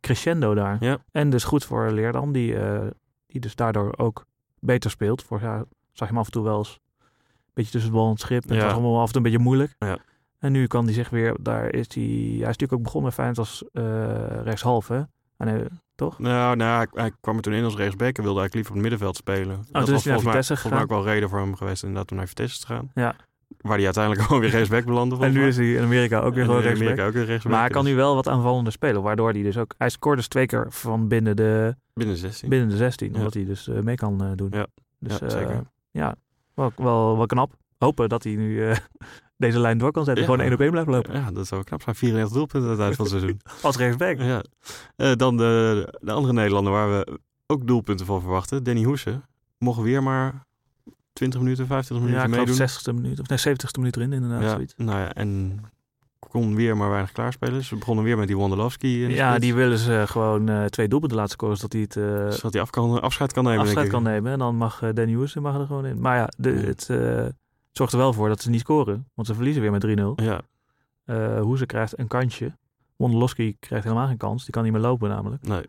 [SPEAKER 1] crescendo daar.
[SPEAKER 7] Ja.
[SPEAKER 1] En dus goed voor Leerdam, die, eh, die dus daardoor ook beter speelt. Vorig jaar zag je hem af en toe wel eens een beetje tussen het bal en het schip. En Het
[SPEAKER 7] Ja.
[SPEAKER 1] was allemaal af en toe een beetje moeilijk.
[SPEAKER 7] Ja.
[SPEAKER 1] En nu kan hij zich weer, daar is hij, hij is natuurlijk ook begonnen bij Feyenoord als eh rechtshalf, hè? En eh, hij,
[SPEAKER 7] Nou, nou hij, hij kwam er toen in als rechtsback en wilde eigenlijk liever op het middenveld spelen.
[SPEAKER 1] toen is hij naar
[SPEAKER 7] volgens mij,
[SPEAKER 1] Oh, dus Vitesse
[SPEAKER 7] volgens mij ook wel reden voor hem geweest inderdaad om naar Vitesse te gaan.
[SPEAKER 1] Ja.
[SPEAKER 7] Waar hij uiteindelijk [laughs] gewoon weer rechtsback belandde.
[SPEAKER 1] En
[SPEAKER 7] volgens
[SPEAKER 1] nu
[SPEAKER 7] mij.
[SPEAKER 1] is hij in Amerika ook weer
[SPEAKER 7] En
[SPEAKER 1] gewoon
[SPEAKER 7] in Amerika
[SPEAKER 1] rechtsback.
[SPEAKER 7] ook weer rechtsback.
[SPEAKER 1] Maar hij kan
[SPEAKER 7] Dus
[SPEAKER 1] nu wel wat aanvallender spelen, waardoor hij dus ook... Hij scoort dus twee keer van binnen de,
[SPEAKER 7] Binnen 16.
[SPEAKER 1] binnen de 16,
[SPEAKER 7] Ja.
[SPEAKER 1] omdat hij dus eh, mee kan eh, doen.
[SPEAKER 7] Ja.
[SPEAKER 1] Dus
[SPEAKER 7] Ja,
[SPEAKER 1] eh,
[SPEAKER 7] zeker.
[SPEAKER 1] ja, wel, wel, wel knap. Hopen dat hij nu eh, [laughs] deze lijn door kan zetten.
[SPEAKER 7] Ja.
[SPEAKER 1] Gewoon één op één blijft lopen.
[SPEAKER 7] Ja, dat zou knap zijn. 34 doelpunten aan
[SPEAKER 1] [laughs]
[SPEAKER 7] het eind van het seizoen.
[SPEAKER 1] Als rechtsback.
[SPEAKER 7] Ja. Eh, dan de, de andere Nederlander waar we ook doelpunten van verwachten. Danny Hoesen. Mocht weer maar 20 minuten, 25
[SPEAKER 1] Ja,
[SPEAKER 7] minuten
[SPEAKER 1] ik
[SPEAKER 7] meedoen.
[SPEAKER 1] geloof 60ste minuut, of nee, 70ste minuut erin inderdaad.
[SPEAKER 7] ja,
[SPEAKER 1] zoiets.
[SPEAKER 7] nou ja, en kon weer maar weinig klaarspelen. Ze begonnen weer met die Wondolowski. in de
[SPEAKER 1] Ja,
[SPEAKER 7] spits.
[SPEAKER 1] die willen ze gewoon eh, twee doelpunten laten scoren, zodat hij het eh,
[SPEAKER 7] Zodat hij af kan, afscheid kan nemen. denk
[SPEAKER 1] afscheid
[SPEAKER 7] ik.
[SPEAKER 1] kan nemen. En dan mag eh, Danny Hoes mag er gewoon in. Maar ja, de,
[SPEAKER 7] Ja.
[SPEAKER 1] het eh, zorgt er wel voor dat ze niet scoren. Want ze verliezen weer met 3-0.
[SPEAKER 7] Ja,
[SPEAKER 1] Eh, Hoeze krijgt een kansje. Wondolowski krijgt helemaal geen kans. Die kan niet meer lopen namelijk.
[SPEAKER 7] nee.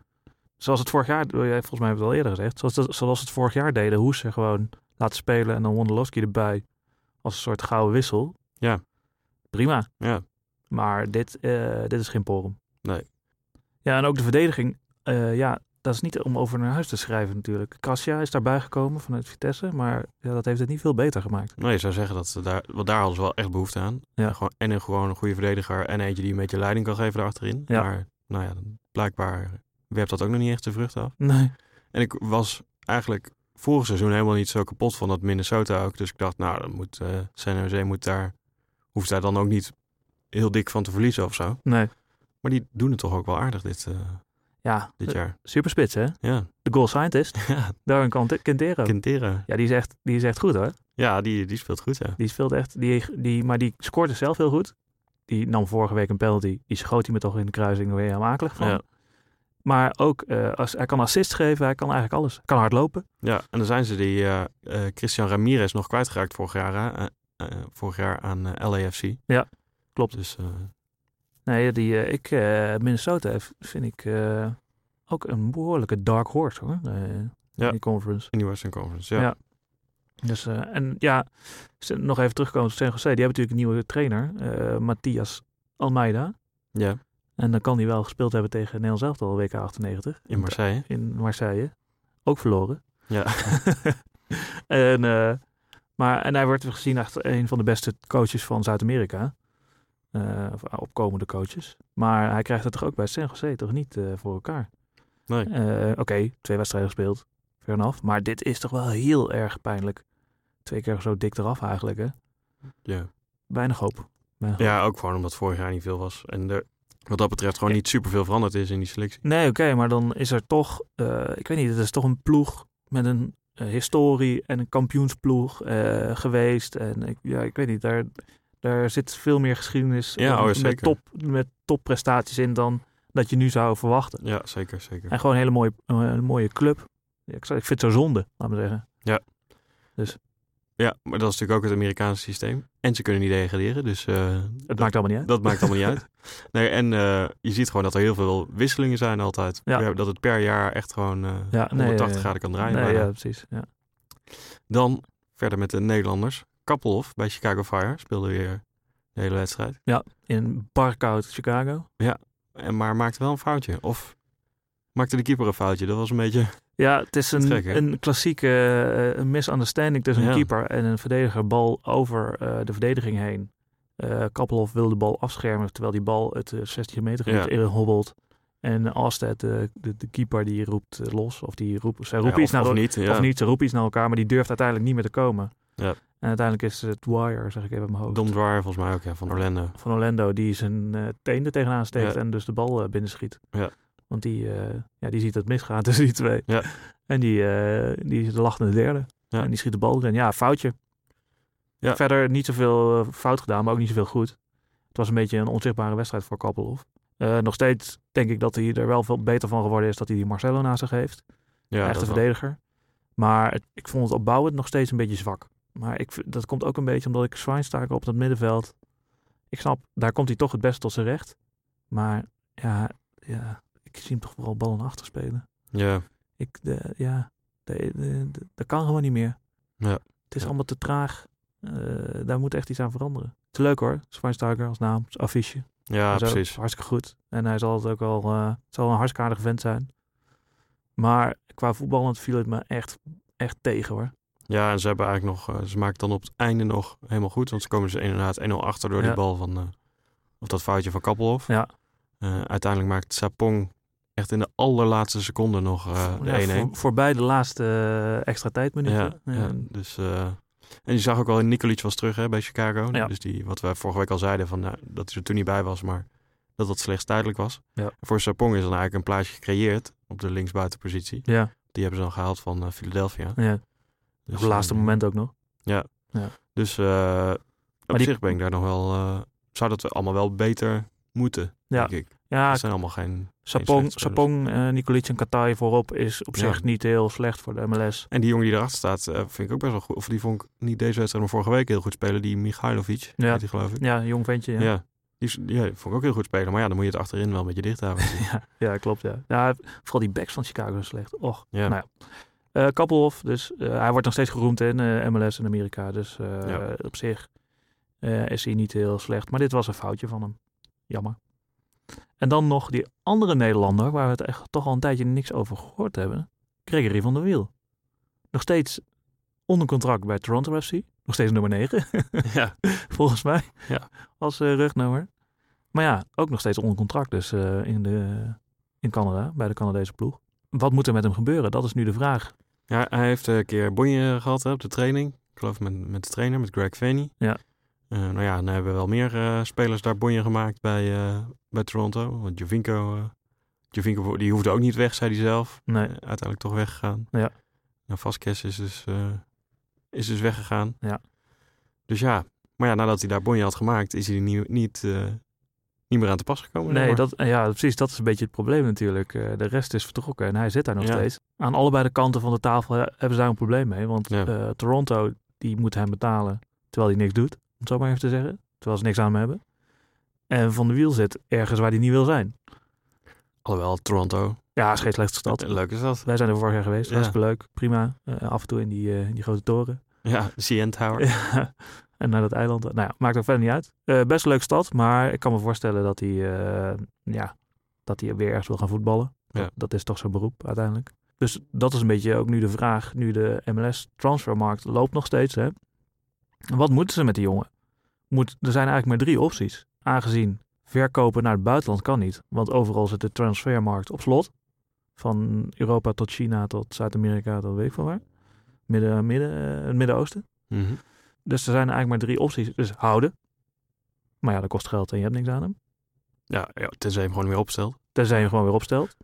[SPEAKER 1] Zoals het vorig jaar, eh, volgens mij hebben we het al eerder gezegd. Zoals, dat- zoals het vorig jaar deden. Hoeze gewoon laten spelen en dan Wondolowski erbij. Als een soort gouden wissel.
[SPEAKER 7] Ja.
[SPEAKER 1] Prima.
[SPEAKER 7] Ja.
[SPEAKER 1] Maar dit, eh, dit is geen porum.
[SPEAKER 7] Nee.
[SPEAKER 1] Ja, en ook de verdediging. eh, ja, dat is niet om over naar huis te schrijven natuurlijk. Cassia is daarbij gekomen vanuit Vitesse. Maar ja, dat heeft het niet veel beter gemaakt.
[SPEAKER 7] Nee, je zou zeggen dat ze daar, want daar hadden ze wel echt behoefte aan.
[SPEAKER 1] Ja.
[SPEAKER 7] Gewoon, en een, gewoon een goede verdediger en eentje die een beetje leiding kan geven daarachterin.
[SPEAKER 1] Ja.
[SPEAKER 7] Maar nou ja, dan- blijkbaar werpt dat ook nog niet echt de vrucht af.
[SPEAKER 1] Nee.
[SPEAKER 7] En ik was eigenlijk vorig seizoen helemaal niet zo kapot van dat Minnesota ook. Dus ik dacht, nou, dan moet, eh San Jose moet daar, hoeft daar dan ook niet heel dik van te verliezen of zo.
[SPEAKER 1] Nee.
[SPEAKER 7] Maar die doen het toch ook wel aardig dit, eh,
[SPEAKER 1] Ja,
[SPEAKER 7] dit jaar.
[SPEAKER 1] super spits hè.
[SPEAKER 7] Ja, [laughs]
[SPEAKER 1] De goal scientist.
[SPEAKER 7] ja
[SPEAKER 1] Darwin Kante- Quintero.
[SPEAKER 7] Quintero.
[SPEAKER 1] Ja, die is, echt, die is echt goed hoor.
[SPEAKER 7] Ja, die, die speelt goed, ja.
[SPEAKER 1] Die speelt echt, die, die, maar die scoorde zelf heel goed. Die nam vorige week een penalty. Die schoot hij me toch in de kruising. Daar ben je helemaal akelig van.
[SPEAKER 7] Ja.
[SPEAKER 1] Maar ook, eh, als, hij kan assist geven. Hij kan eigenlijk alles. Hij kan hard lopen.
[SPEAKER 7] Ja, en dan zijn ze die eh, eh, Christian Ramirez nog kwijtgeraakt vorig jaar, hè, eh, eh, vorig jaar aan eh, LAFC.
[SPEAKER 1] Ja, klopt.
[SPEAKER 7] Dus eh,
[SPEAKER 1] Nee, die, eh, ik, eh, Minnesota heeft- vind ik eh, ook een behoorlijke dark horse hoor. eh,
[SPEAKER 7] Ja.
[SPEAKER 1] In die conference.
[SPEAKER 7] in die Western Conference, ja.
[SPEAKER 1] Ja. Dus, eh, en ja, ze- nog even terugkomen op San Jose. Die hebben natuurlijk een nieuwe trainer. eh Matthias Almeida.
[SPEAKER 7] Ja,
[SPEAKER 1] En dan kan hij wel gespeeld hebben tegen Nederland zelf al WK 98.
[SPEAKER 7] in Marseille.
[SPEAKER 1] in Marseille. Ook verloren. [laughs]
[SPEAKER 7] Ja.
[SPEAKER 1] en, eh, maar, en hij wordt gezien als een van de beste coaches van Zuid-Amerika. Eh, of opkomende coaches. Maar hij krijgt het toch ook bij San Jose toch niet eh, voor elkaar.
[SPEAKER 7] Nee.
[SPEAKER 1] Eh, Oké, twee wedstrijden gespeeld. Fair enough. Maar dit is toch wel heel erg pijnlijk. Twee keer zo dik eraf eigenlijk, hè?
[SPEAKER 7] Ja.
[SPEAKER 1] Weinig hoop. Weinig hoop.
[SPEAKER 7] ja, ook gewoon omdat vorig jaar niet veel was. En er, wat dat betreft gewoon
[SPEAKER 1] Ja.
[SPEAKER 7] niet superveel veranderd is in die selectie.
[SPEAKER 1] Nee, oké, maar dan is er toch, eh, ik weet niet, het is toch een ploeg met een eh, historie en een kampioensploeg eh, geweest. En ik, ja, ik weet niet, daar, daar zit veel meer geschiedenis
[SPEAKER 7] Ja,
[SPEAKER 1] eh,
[SPEAKER 7] oh,
[SPEAKER 1] met,
[SPEAKER 7] zeker.
[SPEAKER 1] top, met topprestaties in dan dat je nu zou verwachten.
[SPEAKER 7] Ja, zeker, zeker.
[SPEAKER 1] En gewoon een hele mooie, eh, een mooie club. Ja, ik, zou- ik vind het zo zonde, laat me zeggen.
[SPEAKER 7] Ja, maar dat is natuurlijk ook het Amerikaanse systeem. En ze kunnen niet degraderen, dus eh,
[SPEAKER 1] Het maakt allemaal niet uit.
[SPEAKER 7] dat maakt allemaal niet
[SPEAKER 1] [laughs]
[SPEAKER 7] uit. Nee, en eh, je ziet gewoon dat er heel veel wisselingen zijn altijd.
[SPEAKER 1] Ja.
[SPEAKER 7] Per- Dat het per jaar echt gewoon eh,
[SPEAKER 1] Ja, nee,
[SPEAKER 7] 180
[SPEAKER 1] eh,
[SPEAKER 7] graden kan draaien.
[SPEAKER 1] Nee,
[SPEAKER 7] bijna.
[SPEAKER 1] ja, precies. Ja.
[SPEAKER 7] Dan verder met de Nederlanders. Kappelhof bij Chicago Fire speelde weer de hele wedstrijd.
[SPEAKER 1] In Barkoud, Chicago.
[SPEAKER 7] En maar maakte wel een foutje. Of maakte de keeper een foutje. Dat was een beetje...
[SPEAKER 1] Ja, het is een,
[SPEAKER 7] is gek, hè?
[SPEAKER 1] een klassieke eh, een misunderstanding tussen
[SPEAKER 7] Ja.
[SPEAKER 1] een keeper en een verdediger. Bal over eh, de verdediging heen. Eh Kappelhof wil de bal afschermen, terwijl die bal het eh, 16 meter gebied
[SPEAKER 7] Ja.
[SPEAKER 1] in hobbelt. En Alstead, de, de, de keeper, die roept eh, los. Of die roept, zij roepen
[SPEAKER 7] Ja,
[SPEAKER 1] iets
[SPEAKER 7] of,
[SPEAKER 1] naar
[SPEAKER 7] of
[SPEAKER 1] elkaar.
[SPEAKER 7] niet. Ja.
[SPEAKER 1] nou Of niet, ze roepen iets naar elkaar, maar die durft uiteindelijk niet meer te komen.
[SPEAKER 7] Ja.
[SPEAKER 1] En uiteindelijk is het Dwyer, zeg ik even in mijn hoofd,
[SPEAKER 7] Dom Dwyer volgens mij ook, ja, van Orlando.
[SPEAKER 1] van Orlando, die zijn eh teen er tegenaan steekt
[SPEAKER 7] Ja.
[SPEAKER 1] en dus de bal binnen binnenschiet.
[SPEAKER 7] Ja.
[SPEAKER 1] Want die, eh, ja, die ziet dat het misgaat [laughs] tussen die twee.
[SPEAKER 7] Ja.
[SPEAKER 1] En die, eh, die is de lachende derde.
[SPEAKER 7] Ja.
[SPEAKER 1] En die schiet de bal erin. Ja, foutje.
[SPEAKER 7] Ja.
[SPEAKER 1] Verder niet zoveel eh, fout gedaan, maar ook niet zoveel goed. Het was een beetje een onzichtbare wedstrijd voor Kappelhof. Eh, nog steeds denk ik dat hij er wel veel beter van geworden is dat hij die Marcelo naast zich heeft
[SPEAKER 7] Ja,
[SPEAKER 1] echte
[SPEAKER 7] dat wel.
[SPEAKER 1] verdediger. Maar het- ik vond het opbouwend nog steeds een beetje zwak. Maar ik, v- dat komt ook een beetje omdat ik Schweinsteiger op dat middenveld... Ik snap, daar komt hij toch het best tot zijn recht. Maar ja, ja ik zie hem toch vooral ballen achter spelen.
[SPEAKER 7] Ja,
[SPEAKER 1] Ik, de, ja, de- de- de- dat kan gewoon niet meer.
[SPEAKER 7] Ja.
[SPEAKER 1] Het is
[SPEAKER 7] Ja.
[SPEAKER 1] allemaal te traag. Eh, daar moet echt iets aan veranderen. Het is leuk hoor, Schweinsteiger als naam, als affiche.
[SPEAKER 7] ja
[SPEAKER 1] en zo.
[SPEAKER 7] precies.
[SPEAKER 1] Hartstikke goed. En hij zal het ook wel, eh, het zal een hartstikke aardige vent zijn. Maar qua voetballend viel het me echt, echt tegen hoor.
[SPEAKER 7] Ja, en ze hebben eigenlijk nog, eh, ze maken het dan op het einde nog helemaal goed. Want ze komen dus inderdaad 1-0 achter door
[SPEAKER 1] Ja.
[SPEAKER 7] die bal van, eh, of dat foutje van Kappelhof.
[SPEAKER 1] Ja.
[SPEAKER 7] Eh, uiteindelijk maakt Sapong echt in de allerlaatste seconde nog eh, de
[SPEAKER 1] Ja,
[SPEAKER 7] 1-1.
[SPEAKER 1] voor- voorbij de laatste eh, extra
[SPEAKER 7] Ja,
[SPEAKER 1] tijdminuten.
[SPEAKER 7] ja, dus, eh, en je zag ook al in Nikolic was terug hè, bij Chicago.
[SPEAKER 1] Ja.
[SPEAKER 7] Dus die, wat we vorige week al zeiden, van, nou, dat hij er toen niet bij was, maar dat dat slechts tijdelijk was.
[SPEAKER 1] Ja.
[SPEAKER 7] Voor Sapong is dan eigenlijk een plaatsje gecreëerd op de linksbuitenpositie.
[SPEAKER 1] ja.
[SPEAKER 7] Die hebben ze dan gehaald van eh, Philadelphia.
[SPEAKER 1] ja.
[SPEAKER 7] Dus,
[SPEAKER 1] Op het laatste
[SPEAKER 7] eh,
[SPEAKER 1] moment ook nog.
[SPEAKER 7] Dus eh op
[SPEAKER 1] die-
[SPEAKER 7] zich ben ik daar nog wel, eh, zou dat allemaal wel beter moeten,
[SPEAKER 1] Ja.
[SPEAKER 7] denk ik.
[SPEAKER 1] Ja,
[SPEAKER 7] Dat zijn allemaal geen...
[SPEAKER 1] Sapong,
[SPEAKER 7] slechte spelers.
[SPEAKER 1] Sapong eh Nikolic en Katai voorop is op
[SPEAKER 7] Ja.
[SPEAKER 1] zich niet heel slecht voor de MLS.
[SPEAKER 7] En die jongen die erachter staat, eh, vind ik ook best wel goed. Of die vond ik niet deze wedstrijd, maar vorige week heel goed spelen. Die Michailovic,
[SPEAKER 1] Ja.
[SPEAKER 7] heet die geloof ik.
[SPEAKER 1] Ja, een jong ventje. Ja,
[SPEAKER 7] Ja.
[SPEAKER 1] ja.
[SPEAKER 7] Die, is- ja, die vond ik ook heel goed spelen. Maar ja, dan moet je het achterin wel een beetje dicht
[SPEAKER 1] [laughs]
[SPEAKER 7] houden.
[SPEAKER 1] klopt. Ja. ja, vooral die backs van Chicago zijn slecht. Och.
[SPEAKER 7] Ja.
[SPEAKER 1] Nou Eh Kappelhof, dus eh, hij wordt nog steeds geroemd in eh, MLS in Amerika. Dus eh,
[SPEAKER 7] Ja.
[SPEAKER 1] op zich eh, is hij niet heel slecht. Maar dit was een foutje van hem. Jammer. En dan nog die andere Nederlander, waar we het echt toch al een tijdje niks over gehoord hebben. Gregory van der Wiel. Nog steeds onder contract bij Toronto FC. Nog steeds nummer 9, [laughs]
[SPEAKER 7] ja.
[SPEAKER 1] volgens mij.
[SPEAKER 7] Ja.
[SPEAKER 1] Als eh, rugnummer. Maar ja, ook nog steeds onder contract dus eh, in, de, in Canada, bij de Canadese ploeg. Wat moet er met hem gebeuren? Dat is nu de vraag.
[SPEAKER 7] ja, hij heeft eh, een keer bonje gehad hè, op de training. Ik geloof met, met de trainer, met Greg Vaney.
[SPEAKER 1] Ja.
[SPEAKER 7] Eh, nou ja, dan hebben we wel meer eh, spelers daar bonje gemaakt bij, eh, bij Toronto. Want Jovinko, eh, Jovinko die hoefde ook niet weg, zei hij zelf.
[SPEAKER 1] Nee.
[SPEAKER 7] Eh, uiteindelijk toch weggegaan.
[SPEAKER 1] Ja.
[SPEAKER 7] Nou, Vasquez is dus, eh, is dus weggegaan.
[SPEAKER 1] Ja.
[SPEAKER 7] Dus ja, maar ja, nadat hij daar bonje had gemaakt, is hij niet, niet, eh, niet meer aan te pas gekomen. zeg
[SPEAKER 1] Nee,
[SPEAKER 7] maar.
[SPEAKER 1] dat, ja, precies. Dat is een beetje het probleem natuurlijk. Eh, De rest is vertrokken en hij zit daar nog
[SPEAKER 7] Ja.
[SPEAKER 1] steeds. Aan allebei de kanten van de tafel eh, hebben ze daar een probleem mee. Want
[SPEAKER 7] Ja.
[SPEAKER 1] eh, Toronto, die moet hem betalen terwijl hij niks doet. Om het zo maar even te zeggen. Terwijl ze niks aan hem hebben. En Van de Wiel zit ergens waar hij niet wil zijn.
[SPEAKER 7] Alhoewel, Toronto.
[SPEAKER 1] Ja, is geen slechte stad.
[SPEAKER 7] Leuk is dat.
[SPEAKER 1] Wij zijn er vorig jaar geweest.
[SPEAKER 7] Ja.
[SPEAKER 1] Hartstikke leuk. Prima. Eh, af en toe in die, eh, in die grote toren.
[SPEAKER 7] Ja, CN Tower.
[SPEAKER 1] Ja, [laughs] en naar dat eiland. Nou ja, maakt ook verder niet uit. Eh, best een leuke stad, maar ik kan me voorstellen dat hij, eh, ja, dat hij weer ergens wil gaan voetballen. Dat,
[SPEAKER 7] Ja.
[SPEAKER 1] dat is toch zijn beroep uiteindelijk. Dus dat is een beetje ook nu de vraag. Nu de MLS-transfermarkt loopt nog steeds. Hè? Wat moeten ze met die jongen? Moet, er zijn eigenlijk maar drie opties. Aangezien verkopen naar het buitenland kan niet. Want overal zit de transfermarkt op slot. Van Europa tot China tot Zuid-Amerika, dat weet ik van waar. Midden, midden, eh, het Midden-Oosten.
[SPEAKER 7] Mhm.
[SPEAKER 1] Dus er zijn eigenlijk maar drie opties. Dus houden. Maar ja, dat kost geld en je hebt niks aan hem.
[SPEAKER 7] ja, ja, tenzij je hem gewoon weer opstelt.
[SPEAKER 1] Tenzij je hem gewoon weer opstelt.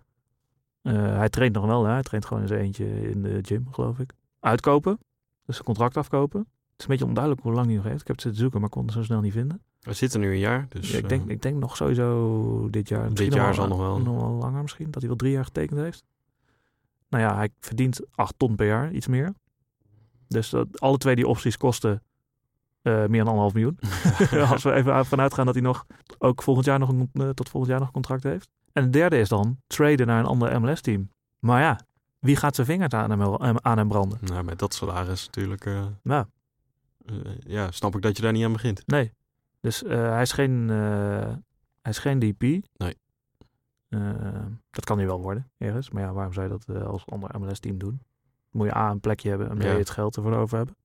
[SPEAKER 1] Eh, hij traint nog wel, hè? hij traint gewoon eens eentje in de gym, geloof ik. Uitkopen, dus een contract afkopen. Het is een beetje onduidelijk hoe lang hij nog heeft. Ik heb het zitten zoeken, maar kon het zo snel niet vinden.
[SPEAKER 7] We zitten nu een jaar, dus...
[SPEAKER 1] Ja, ik, denk,
[SPEAKER 7] eh,
[SPEAKER 1] ik denk nog sowieso dit jaar.
[SPEAKER 7] Dit
[SPEAKER 1] Misschien
[SPEAKER 7] jaar zal nog wel.
[SPEAKER 1] Nog wel langer misschien, dat hij wel drie jaar getekend heeft. Nou ja, hij verdient acht ton per jaar, iets meer. Dus dat, alle twee die opties kosten eh, meer dan anderhalf miljoen.
[SPEAKER 7] [laughs]
[SPEAKER 1] [laughs] Als we even vanuit gaan dat hij nog, ook volgend jaar nog een, eh, tot volgend jaar nog een contract heeft. En het derde is dan traden naar een ander MLS-team. Maar ja, wie gaat zijn vingers aan hem, hem- aan hem branden?
[SPEAKER 7] Nou, met dat salaris natuurlijk... eh,
[SPEAKER 1] Nou,
[SPEAKER 7] eh, ja, snap ik dat je daar niet aan begint.
[SPEAKER 1] nee. Dus eh, hij, is geen, eh, hij is geen DP.
[SPEAKER 7] Nee.
[SPEAKER 1] Eh, dat kan hij wel worden, ergens. Maar ja, waarom zou je dat eh, als ander MLS-team doen? Moet je A, een plekje hebben en B,
[SPEAKER 7] Ja.
[SPEAKER 1] het geld ervoor over hebben.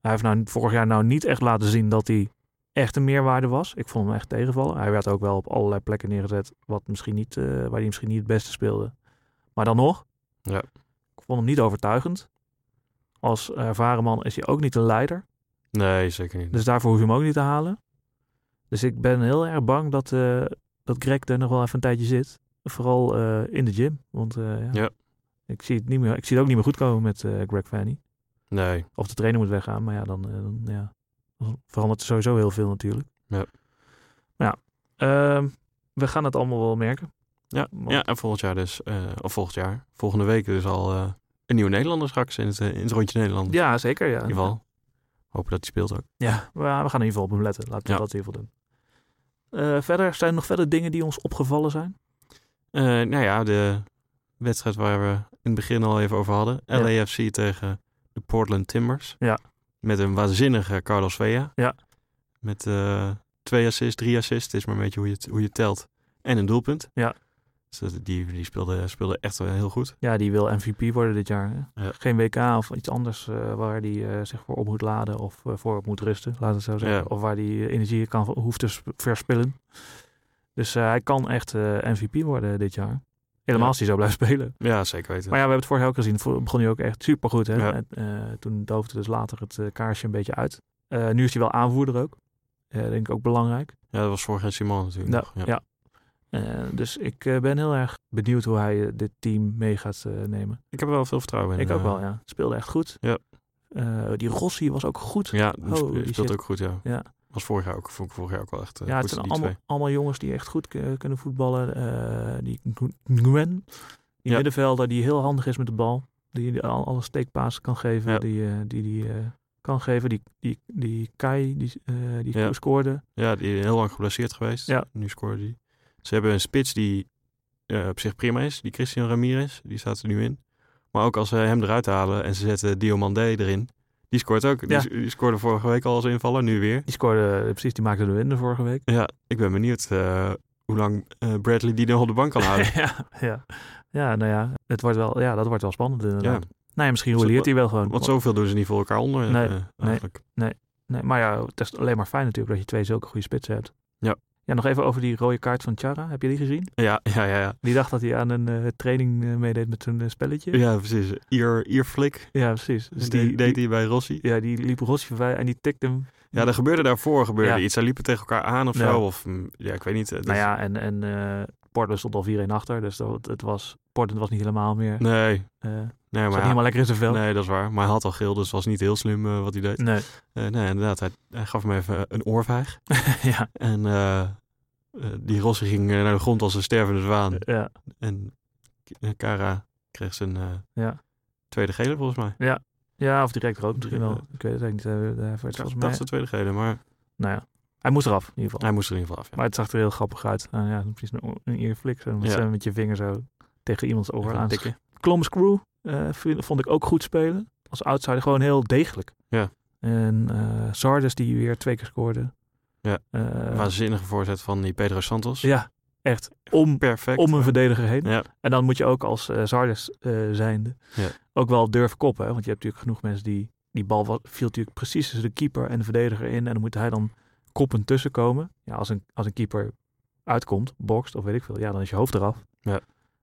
[SPEAKER 1] Hij heeft nou, vorig jaar nou niet echt laten zien dat hij echt een meerwaarde was. Ik vond hem echt tegenvallen. Hij werd ook wel op allerlei plekken neergezet wat misschien niet, eh, waar hij misschien niet het beste speelde. Maar dan nog,
[SPEAKER 7] Ja.
[SPEAKER 1] ik vond hem niet overtuigend. Als ervaren man is hij ook niet een leider.
[SPEAKER 7] Nee, zeker niet.
[SPEAKER 1] Dus daarvoor hoef je hem ook niet te halen. Dus ik ben heel erg bang dat, eh, dat Greg er nog wel even een tijdje zit. Vooral eh, in de gym. Want eh, ja,
[SPEAKER 7] Ja.
[SPEAKER 1] Ik, zie het niet meer, ik zie het ook niet meer goed komen met eh, Greg Fanny.
[SPEAKER 7] Nee.
[SPEAKER 1] Of de trainer moet weggaan. Maar ja, dan, eh, dan, ja, dan verandert er sowieso heel veel natuurlijk.
[SPEAKER 7] Ja.
[SPEAKER 1] Maar ja, ehm, we gaan het allemaal wel merken.
[SPEAKER 7] Ja,
[SPEAKER 1] Want-
[SPEAKER 7] ja en volgend jaar dus... eh, of volgend jaar. Volgende week dus al eh, een nieuwe Nederlander straks in het, eh, in het rondje Nederland.
[SPEAKER 1] Ja, zeker. Ja.
[SPEAKER 7] In ieder geval. Hopen dat hij speelt ook.
[SPEAKER 1] Ja, we we gaan in ieder geval op hem letten. Laten we
[SPEAKER 7] Ja.
[SPEAKER 1] dat in ieder geval doen. Eh, verder, zijn er nog verder dingen die ons opgevallen zijn?
[SPEAKER 7] Eh, nou ja, de wedstrijd waar we in het begin al even over hadden.
[SPEAKER 1] Ja.
[SPEAKER 7] LAFC tegen de Portland Timbers.
[SPEAKER 1] Ja.
[SPEAKER 7] Met een waanzinnige Carlos Vea.
[SPEAKER 1] Ja.
[SPEAKER 7] Met eh, twee assists, drie assists. Het is maar een beetje hoe je het, hoe je het telt. En een doelpunt.
[SPEAKER 1] Ja.
[SPEAKER 7] Dus dat- die, die speelde, speelde echt eh, heel goed.
[SPEAKER 1] Ja, die wil MVP worden dit jaar. Hè?
[SPEAKER 7] Ja.
[SPEAKER 1] Geen WK of iets anders eh, waar die eh, zich voor op moet laden of eh, voor op moet rusten, laten we het zo zeggen.
[SPEAKER 7] Ja.
[SPEAKER 1] Of waar die eh, energie kan, hoeft te sp- verspillen. Dus eh, hij kan echt eh, MVP worden dit jaar. Helemaal
[SPEAKER 7] Ja.
[SPEAKER 1] als hij zo blijft [laughs] spelen.
[SPEAKER 7] Ja, zeker weten.
[SPEAKER 1] Maar ja, we hebben het vorig jaar ook gezien. Vo- Begon hij ook echt supergoed. Hè?
[SPEAKER 7] Ja.
[SPEAKER 1] En, eh, toen doofde dus later het eh, kaarsje een beetje uit. Eh, nu is hij wel aanvoerder ook. Eh, denk ik ook belangrijk.
[SPEAKER 7] ja, dat was vorig jaar Simon natuurlijk.
[SPEAKER 1] Ja,
[SPEAKER 7] nog,
[SPEAKER 1] ja. Eh, dus ik eh, ben heel erg benieuwd hoe hij eh, dit team mee gaat eh, nemen.
[SPEAKER 7] Ik heb er wel veel vertrouwen in.
[SPEAKER 1] ik ook
[SPEAKER 7] eh.
[SPEAKER 1] wel, ja. Speelde echt goed.
[SPEAKER 7] Ja.
[SPEAKER 1] Eh, die Rossi was ook goed.
[SPEAKER 7] Ja, die sp-
[SPEAKER 1] Holy
[SPEAKER 7] speelt
[SPEAKER 1] shit.
[SPEAKER 7] ook goed, ja.
[SPEAKER 1] Ja.
[SPEAKER 7] Was vorig jaar ook, vond ik vorig jaar ook wel echt eh,
[SPEAKER 1] Ja, het
[SPEAKER 7] goed,
[SPEAKER 1] zijn
[SPEAKER 7] die
[SPEAKER 1] allemaal,
[SPEAKER 7] twee.
[SPEAKER 1] allemaal jongens die echt goed k- kunnen voetballen. Eh, die Ngu- Nguyen, die
[SPEAKER 7] Ja.
[SPEAKER 1] middenvelder die heel handig is met de bal. Die die al- alle steekpaas kan geven.
[SPEAKER 7] Ja.
[SPEAKER 1] Die, eh, die, die eh, kan geven. Die, die, die Kai, die, eh, die
[SPEAKER 7] Ja.
[SPEAKER 1] scoorde.
[SPEAKER 7] Ja, die is heel lang geblesseerd geweest.
[SPEAKER 1] Ja.
[SPEAKER 7] Nu scoorde die. Ze hebben een spits die eh, op zich prima is. Die Christian Ramirez, die staat er nu in. Maar ook als ze hem eruit halen en ze zetten Diomandé erin. Die scoort ook. Die,
[SPEAKER 1] Ja.
[SPEAKER 7] s- die scoorde vorige week al als invaller, nu weer.
[SPEAKER 1] Die scoorde, eh, precies, die maakte de win de vorige week.
[SPEAKER 7] Ja, ik ben benieuwd eh, hoe lang eh, Bradley die nog op de bank kan
[SPEAKER 1] [laughs]
[SPEAKER 7] houden.
[SPEAKER 1] [laughs] ja, ja. ja, nou ja, het wordt wel, ja, dat wordt wel spannend
[SPEAKER 7] ja,
[SPEAKER 1] inderdaad. Nee, misschien
[SPEAKER 7] Zo-
[SPEAKER 1] roleert hij wel gewoon.
[SPEAKER 7] want zoveel doen ze niet voor elkaar onder. eh,
[SPEAKER 1] Nee,
[SPEAKER 7] eh, eigenlijk.
[SPEAKER 1] Nee, maar ja, het is alleen maar fijn natuurlijk dat je twee zulke goede spitsen hebt.
[SPEAKER 7] Ja.
[SPEAKER 1] Ja, nog even over die rode kaart van Chara. Heb je die gezien?
[SPEAKER 7] Ja, ja, ja, ja.
[SPEAKER 1] Die dacht dat hij aan een eh, training eh, meedeed met zo'n eh, spelletje.
[SPEAKER 7] Ja, precies. Ier, Ierflik.
[SPEAKER 1] Ja, precies.
[SPEAKER 7] Dus die, deed hij bij Rossi.
[SPEAKER 1] ja, die liep Rossi voorbij en die tikte hem.
[SPEAKER 7] Ja, er gebeurde daarvoor
[SPEAKER 1] Ja.
[SPEAKER 7] gebeurde iets. Zij liepen tegen elkaar aan of
[SPEAKER 1] Ja.
[SPEAKER 7] zo. Of mm, ja, ik weet niet. Het
[SPEAKER 1] Nou
[SPEAKER 7] is-
[SPEAKER 1] ja, en, en eh Portland stond al 4-1 achter. Dus dat, het was, Portland was niet helemaal meer. eh
[SPEAKER 7] Nee, nee,
[SPEAKER 1] zat
[SPEAKER 7] maar
[SPEAKER 1] niet
[SPEAKER 7] hij-
[SPEAKER 1] helemaal lekker in zijn vel.
[SPEAKER 7] nee, dat is waar. Maar hij had al geel, dus het was niet heel slim eh, wat hij deed.
[SPEAKER 1] Nee. [laughs]
[SPEAKER 7] Eh, nee, inderdaad. Hij, hij gaf hem even eh, een oorvijg.
[SPEAKER 1] ja,
[SPEAKER 7] En eh, eh, die Rossi ging eh, naar de grond als een stervende zwaan.
[SPEAKER 1] ja,
[SPEAKER 7] En eh, Kara kreeg zijn eh,
[SPEAKER 1] eh. ja.
[SPEAKER 7] tweede gele volgens mij.
[SPEAKER 1] Ja, of direct rood misschien wel.
[SPEAKER 7] Ja.
[SPEAKER 1] Ik weet het eigenlijk niet. eh, Hij werd
[SPEAKER 7] Ik dacht
[SPEAKER 1] volgens
[SPEAKER 7] dat
[SPEAKER 1] mij...
[SPEAKER 7] is de tweede gele, maar
[SPEAKER 1] Nou ja, hij moest eraf in ieder geval.
[SPEAKER 7] hij moest er in ieder geval af. Ja.
[SPEAKER 1] Maar het zag er heel grappig uit. Nou ja, precies een, oor- een earflik. Zo, met,
[SPEAKER 7] Ja.
[SPEAKER 1] zo met je vinger zo tegen iemands oor
[SPEAKER 7] Even
[SPEAKER 1] aan.
[SPEAKER 7] tikken.
[SPEAKER 1] Columbus Crew eh, vind- vond ik ook goed spelen. Als outsider gewoon heel degelijk.
[SPEAKER 7] Ja.
[SPEAKER 1] En eh Sardes die weer twee keer scoorde.
[SPEAKER 7] Ja.
[SPEAKER 1] Eh,
[SPEAKER 7] Waanzinnige voorzet van die Pedro Santos.
[SPEAKER 1] ja echt. Om,
[SPEAKER 7] Perfect.
[SPEAKER 1] om een verdediger heen.
[SPEAKER 7] Ja.
[SPEAKER 1] En dan moet je ook als eh Sardes eh, zijnde
[SPEAKER 7] Ja.
[SPEAKER 1] ook wel durven koppen. Hè? Want je hebt natuurlijk genoeg mensen die... Die bal wa- viel natuurlijk precies tussen de keeper en de verdediger in. En dan moet hij dan koppen tussenkomen. Ja, als een, als een keeper uitkomt, bokst of weet ik veel. Ja, dan is je hoofd eraf.
[SPEAKER 7] Ja.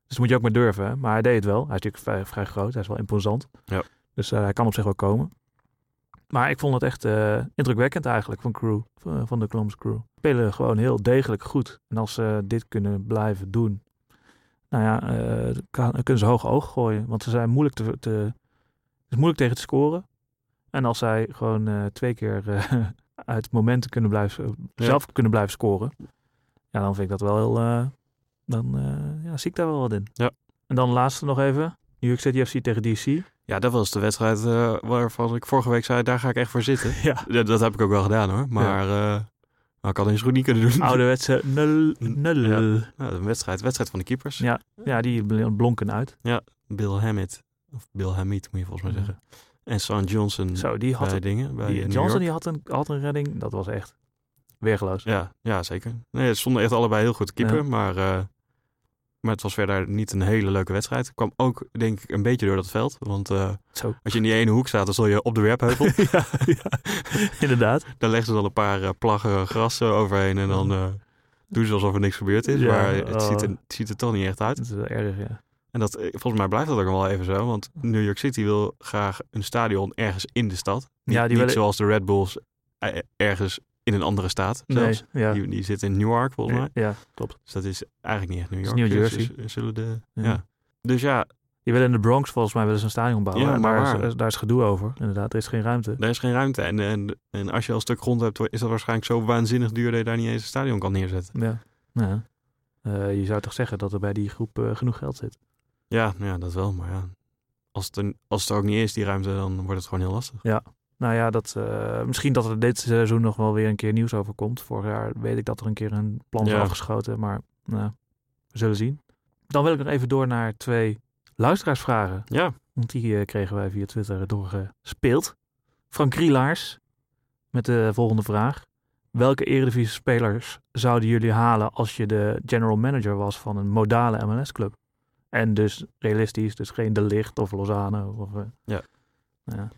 [SPEAKER 1] Dus dat moet je ook maar durven. hè. Maar hij deed het wel. Hij is natuurlijk vrij, vrij groot. Hij is wel imposant.
[SPEAKER 7] Ja.
[SPEAKER 1] Dus eh, hij kan op zich wel komen. Maar ik vond het echt eh, indrukwekkend eigenlijk van crew. eh, Van, van de Columbus crew. Spelen gewoon heel degelijk goed. En als ze dit kunnen blijven doen. Nou ja, eh, kan- kunnen ze hoog oog gooien. Want ze zijn moeilijk te... te het is moeilijk tegen te scoren. En als zij gewoon eh, twee keer eh, [laughs] uit momenten kunnen blijven, eh,
[SPEAKER 7] Ja.
[SPEAKER 1] zelf kunnen blijven scoren. Ja, dan vind ik dat wel heel. eh, dan eh, ja, zie ik daar wel wat in.
[SPEAKER 7] Ja.
[SPEAKER 1] En dan laatste nog even. New York City FC tegen DC.
[SPEAKER 7] Ja, dat was de wedstrijd eh, waarvan ik vorige week zei, daar ga ik echt voor zitten. [laughs]
[SPEAKER 1] Ja.
[SPEAKER 7] Dat, dat heb ik ook wel gedaan hoor. Maar eh, nou, ik had het eens goed niet kunnen doen.
[SPEAKER 1] Ouderwetse nul. nul. Ja.
[SPEAKER 7] Nou, een wedstrijd, wedstrijd van de keepers.
[SPEAKER 1] Ja. die bl- blonken uit.
[SPEAKER 7] Bill Hammett. Of Bill Hamid moet je volgens mij zeggen. En Sean Johnson
[SPEAKER 1] Mhm. Zo, die had,
[SPEAKER 7] bij
[SPEAKER 1] een-
[SPEAKER 7] dingen. Bij
[SPEAKER 1] die,
[SPEAKER 7] eh, New
[SPEAKER 1] Johnson
[SPEAKER 7] York.
[SPEAKER 1] die had, een, had een redding. Dat was echt weergeloos.
[SPEAKER 7] Ja, ja, zeker. Nee, het stonden echt allebei heel goed te keeper.
[SPEAKER 1] Ja.
[SPEAKER 7] Maar, eh, maar het was verder niet een hele leuke wedstrijd. Het kwam ook denk ik een beetje door dat veld. Want eh,
[SPEAKER 1] Zo.
[SPEAKER 7] als je in die ene hoek staat, dan zul je op de
[SPEAKER 1] [laughs]
[SPEAKER 7] werpheuvel.
[SPEAKER 1] ja, ja, inderdaad.
[SPEAKER 7] Dan leggen ze dan een paar eh, plaggen gras eh, overheen en dan eh, doen ze alsof er niks gebeurd is.
[SPEAKER 1] Ja,
[SPEAKER 7] maar het, ziet er,
[SPEAKER 1] oh.
[SPEAKER 7] het ziet er toch niet echt uit.
[SPEAKER 1] Dat is wel erg, ja.
[SPEAKER 7] En dat, eh, volgens mij blijft dat ook nog wel even zo. Want New York City wil graag een stadion ergens in de stad. Niet,
[SPEAKER 1] Ja, die
[SPEAKER 7] niet
[SPEAKER 1] willen-
[SPEAKER 7] zoals de Red Bulls eh, ergens in een andere staat zelfs.
[SPEAKER 1] Nee, ja.
[SPEAKER 7] Die, die zitten in Newark volgens mij.
[SPEAKER 1] Ja, klopt.
[SPEAKER 7] Dus dat is eigenlijk niet echt New
[SPEAKER 1] Dat
[SPEAKER 7] York.
[SPEAKER 1] is New
[SPEAKER 7] Dus
[SPEAKER 1] Jersey.
[SPEAKER 7] ze- zullen de, ja.
[SPEAKER 1] Ja.
[SPEAKER 7] Dus ja,
[SPEAKER 1] Die willen in de Bronx volgens mij wel eens een stadion bouwen.
[SPEAKER 7] Ja,
[SPEAKER 1] en
[SPEAKER 7] maar
[SPEAKER 1] daar,
[SPEAKER 7] waar?
[SPEAKER 1] is, daar is gedoe over. Inderdaad, er is geen ruimte.
[SPEAKER 7] daar is geen ruimte. En, en, en als je al een stuk grond hebt, is dat waarschijnlijk zo waanzinnig duur dat je daar niet eens een stadion kan neerzetten.
[SPEAKER 1] Ja. ja. Eh, je zou toch zeggen dat er bij die groep eh, genoeg geld zit.
[SPEAKER 7] Ja, nou ja, dat wel. Maar ja, als het, er, als het er ook niet is, die ruimte, dan wordt het gewoon heel lastig.
[SPEAKER 1] Nou ja, dat, eh, misschien dat er dit seizoen nog wel weer een keer nieuws over komt. Vorig jaar weet ik dat er een keer een plan is
[SPEAKER 7] Ja.
[SPEAKER 1] afgeschoten. Maar nou, we zullen zien. Dan wil ik nog even door naar twee luisteraarsvragen.
[SPEAKER 7] Ja,
[SPEAKER 1] Want die eh, kregen wij via Twitter doorgespeeld. Frank Krielaars met de volgende vraag. Welke Eredivisie-spelers zouden jullie halen als je de general manager was van een modale MLS-club? En dus realistisch, dus geen De Ligt of Lozano. Of, eh, Nou
[SPEAKER 7] Ja.
[SPEAKER 1] ja.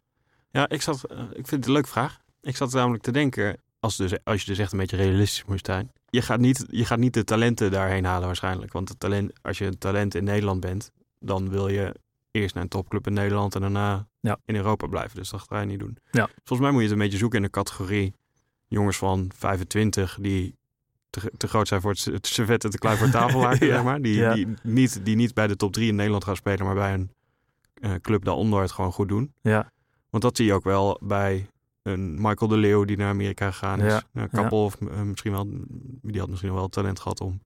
[SPEAKER 7] Ja, ik, zat, eh, ik vind het een leuke vraag. Ik zat namelijk te denken, als, dus, als je dus echt een beetje realistisch moet zijn. Je gaat, niet, je gaat niet de talenten daarheen halen waarschijnlijk. Want het talent, als je een talent in Nederland bent, dan wil je eerst naar een topclub in Nederland en daarna
[SPEAKER 1] Ja.
[SPEAKER 7] in Europa blijven. Dus dat ga je niet doen.
[SPEAKER 1] Ja.
[SPEAKER 7] Volgens mij moet je het een beetje zoeken in de categorie jongens van 25 die te, te groot zijn voor het, s- het servet en te
[SPEAKER 1] [laughs]
[SPEAKER 7] klein voor het tafellaken,
[SPEAKER 1] Ja.
[SPEAKER 7] zeg maar. Die,
[SPEAKER 1] Ja.
[SPEAKER 7] die, niet, die niet bij de top 3 in Nederland gaan spelen, maar bij een eh, club daaronder het gewoon goed doen.
[SPEAKER 1] Ja.
[SPEAKER 7] Want dat zie je ook wel bij een Michael de Leeuw die naar Amerika gegaan is.
[SPEAKER 1] Ja,
[SPEAKER 7] Nou, Kappel of eh, misschien wel, die had misschien wel het talent gehad om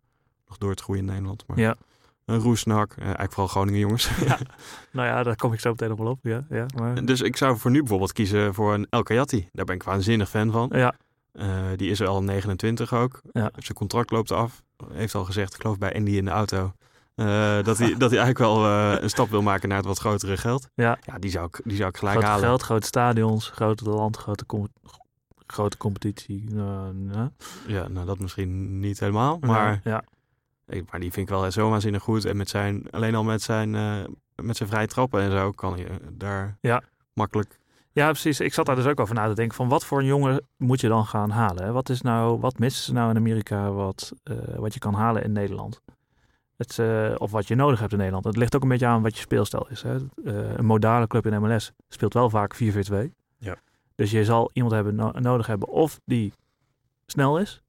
[SPEAKER 7] nog door te groeien in Nederland. Maar
[SPEAKER 1] Ja.
[SPEAKER 7] een Roesnak, eh, eigenlijk vooral Groningen jongens.
[SPEAKER 1] Nou ja, daar kom ik zo meteen nog wel op. Ja, ja, maar,
[SPEAKER 7] [laughs] dus ik zou voor nu bijvoorbeeld kiezen voor een El Kayati. Daar ben ik waanzinnig fan van.
[SPEAKER 1] ja,
[SPEAKER 7] Eh, die is al 29 ook.
[SPEAKER 1] Ja.
[SPEAKER 7] Zijn contract loopt af. Heeft al gezegd, ik geloof bij Andy in de auto. eh, dat, hij, dat hij eigenlijk wel eh, een stap wil maken naar het wat grotere geld.
[SPEAKER 1] Ja.
[SPEAKER 7] ja die, zou ik, die zou ik gelijk
[SPEAKER 1] groot
[SPEAKER 7] halen.
[SPEAKER 1] geld, grote stadions, groot land, grote, com- grote competitie. eh, ja.
[SPEAKER 7] Ja, nou dat misschien niet helemaal. Maar,
[SPEAKER 1] Maar, ja,
[SPEAKER 7] ik- maar die vind ik wel zo waanzinnig goed. En met zijn, alleen al met zijn, eh, met zijn vrije trappen en zo kan je daar
[SPEAKER 1] Ja.
[SPEAKER 7] makkelijk.
[SPEAKER 1] ja, precies. Ik zat daar dus ook over na te denken van wat voor een jongen moet je dan gaan halen? Hè? Wat, is nou, wat missen ze nou in Amerika wat, eh, wat je kan halen in Nederland? Het, eh, of wat je nodig hebt in Nederland. Het ligt ook een beetje aan wat je speelstijl is. Hè? Eh, een modale club in MLS speelt wel vaak 4-4-2.
[SPEAKER 7] Ja.
[SPEAKER 1] Dus je zal iemand hebben, no- nodig hebben of die snel is,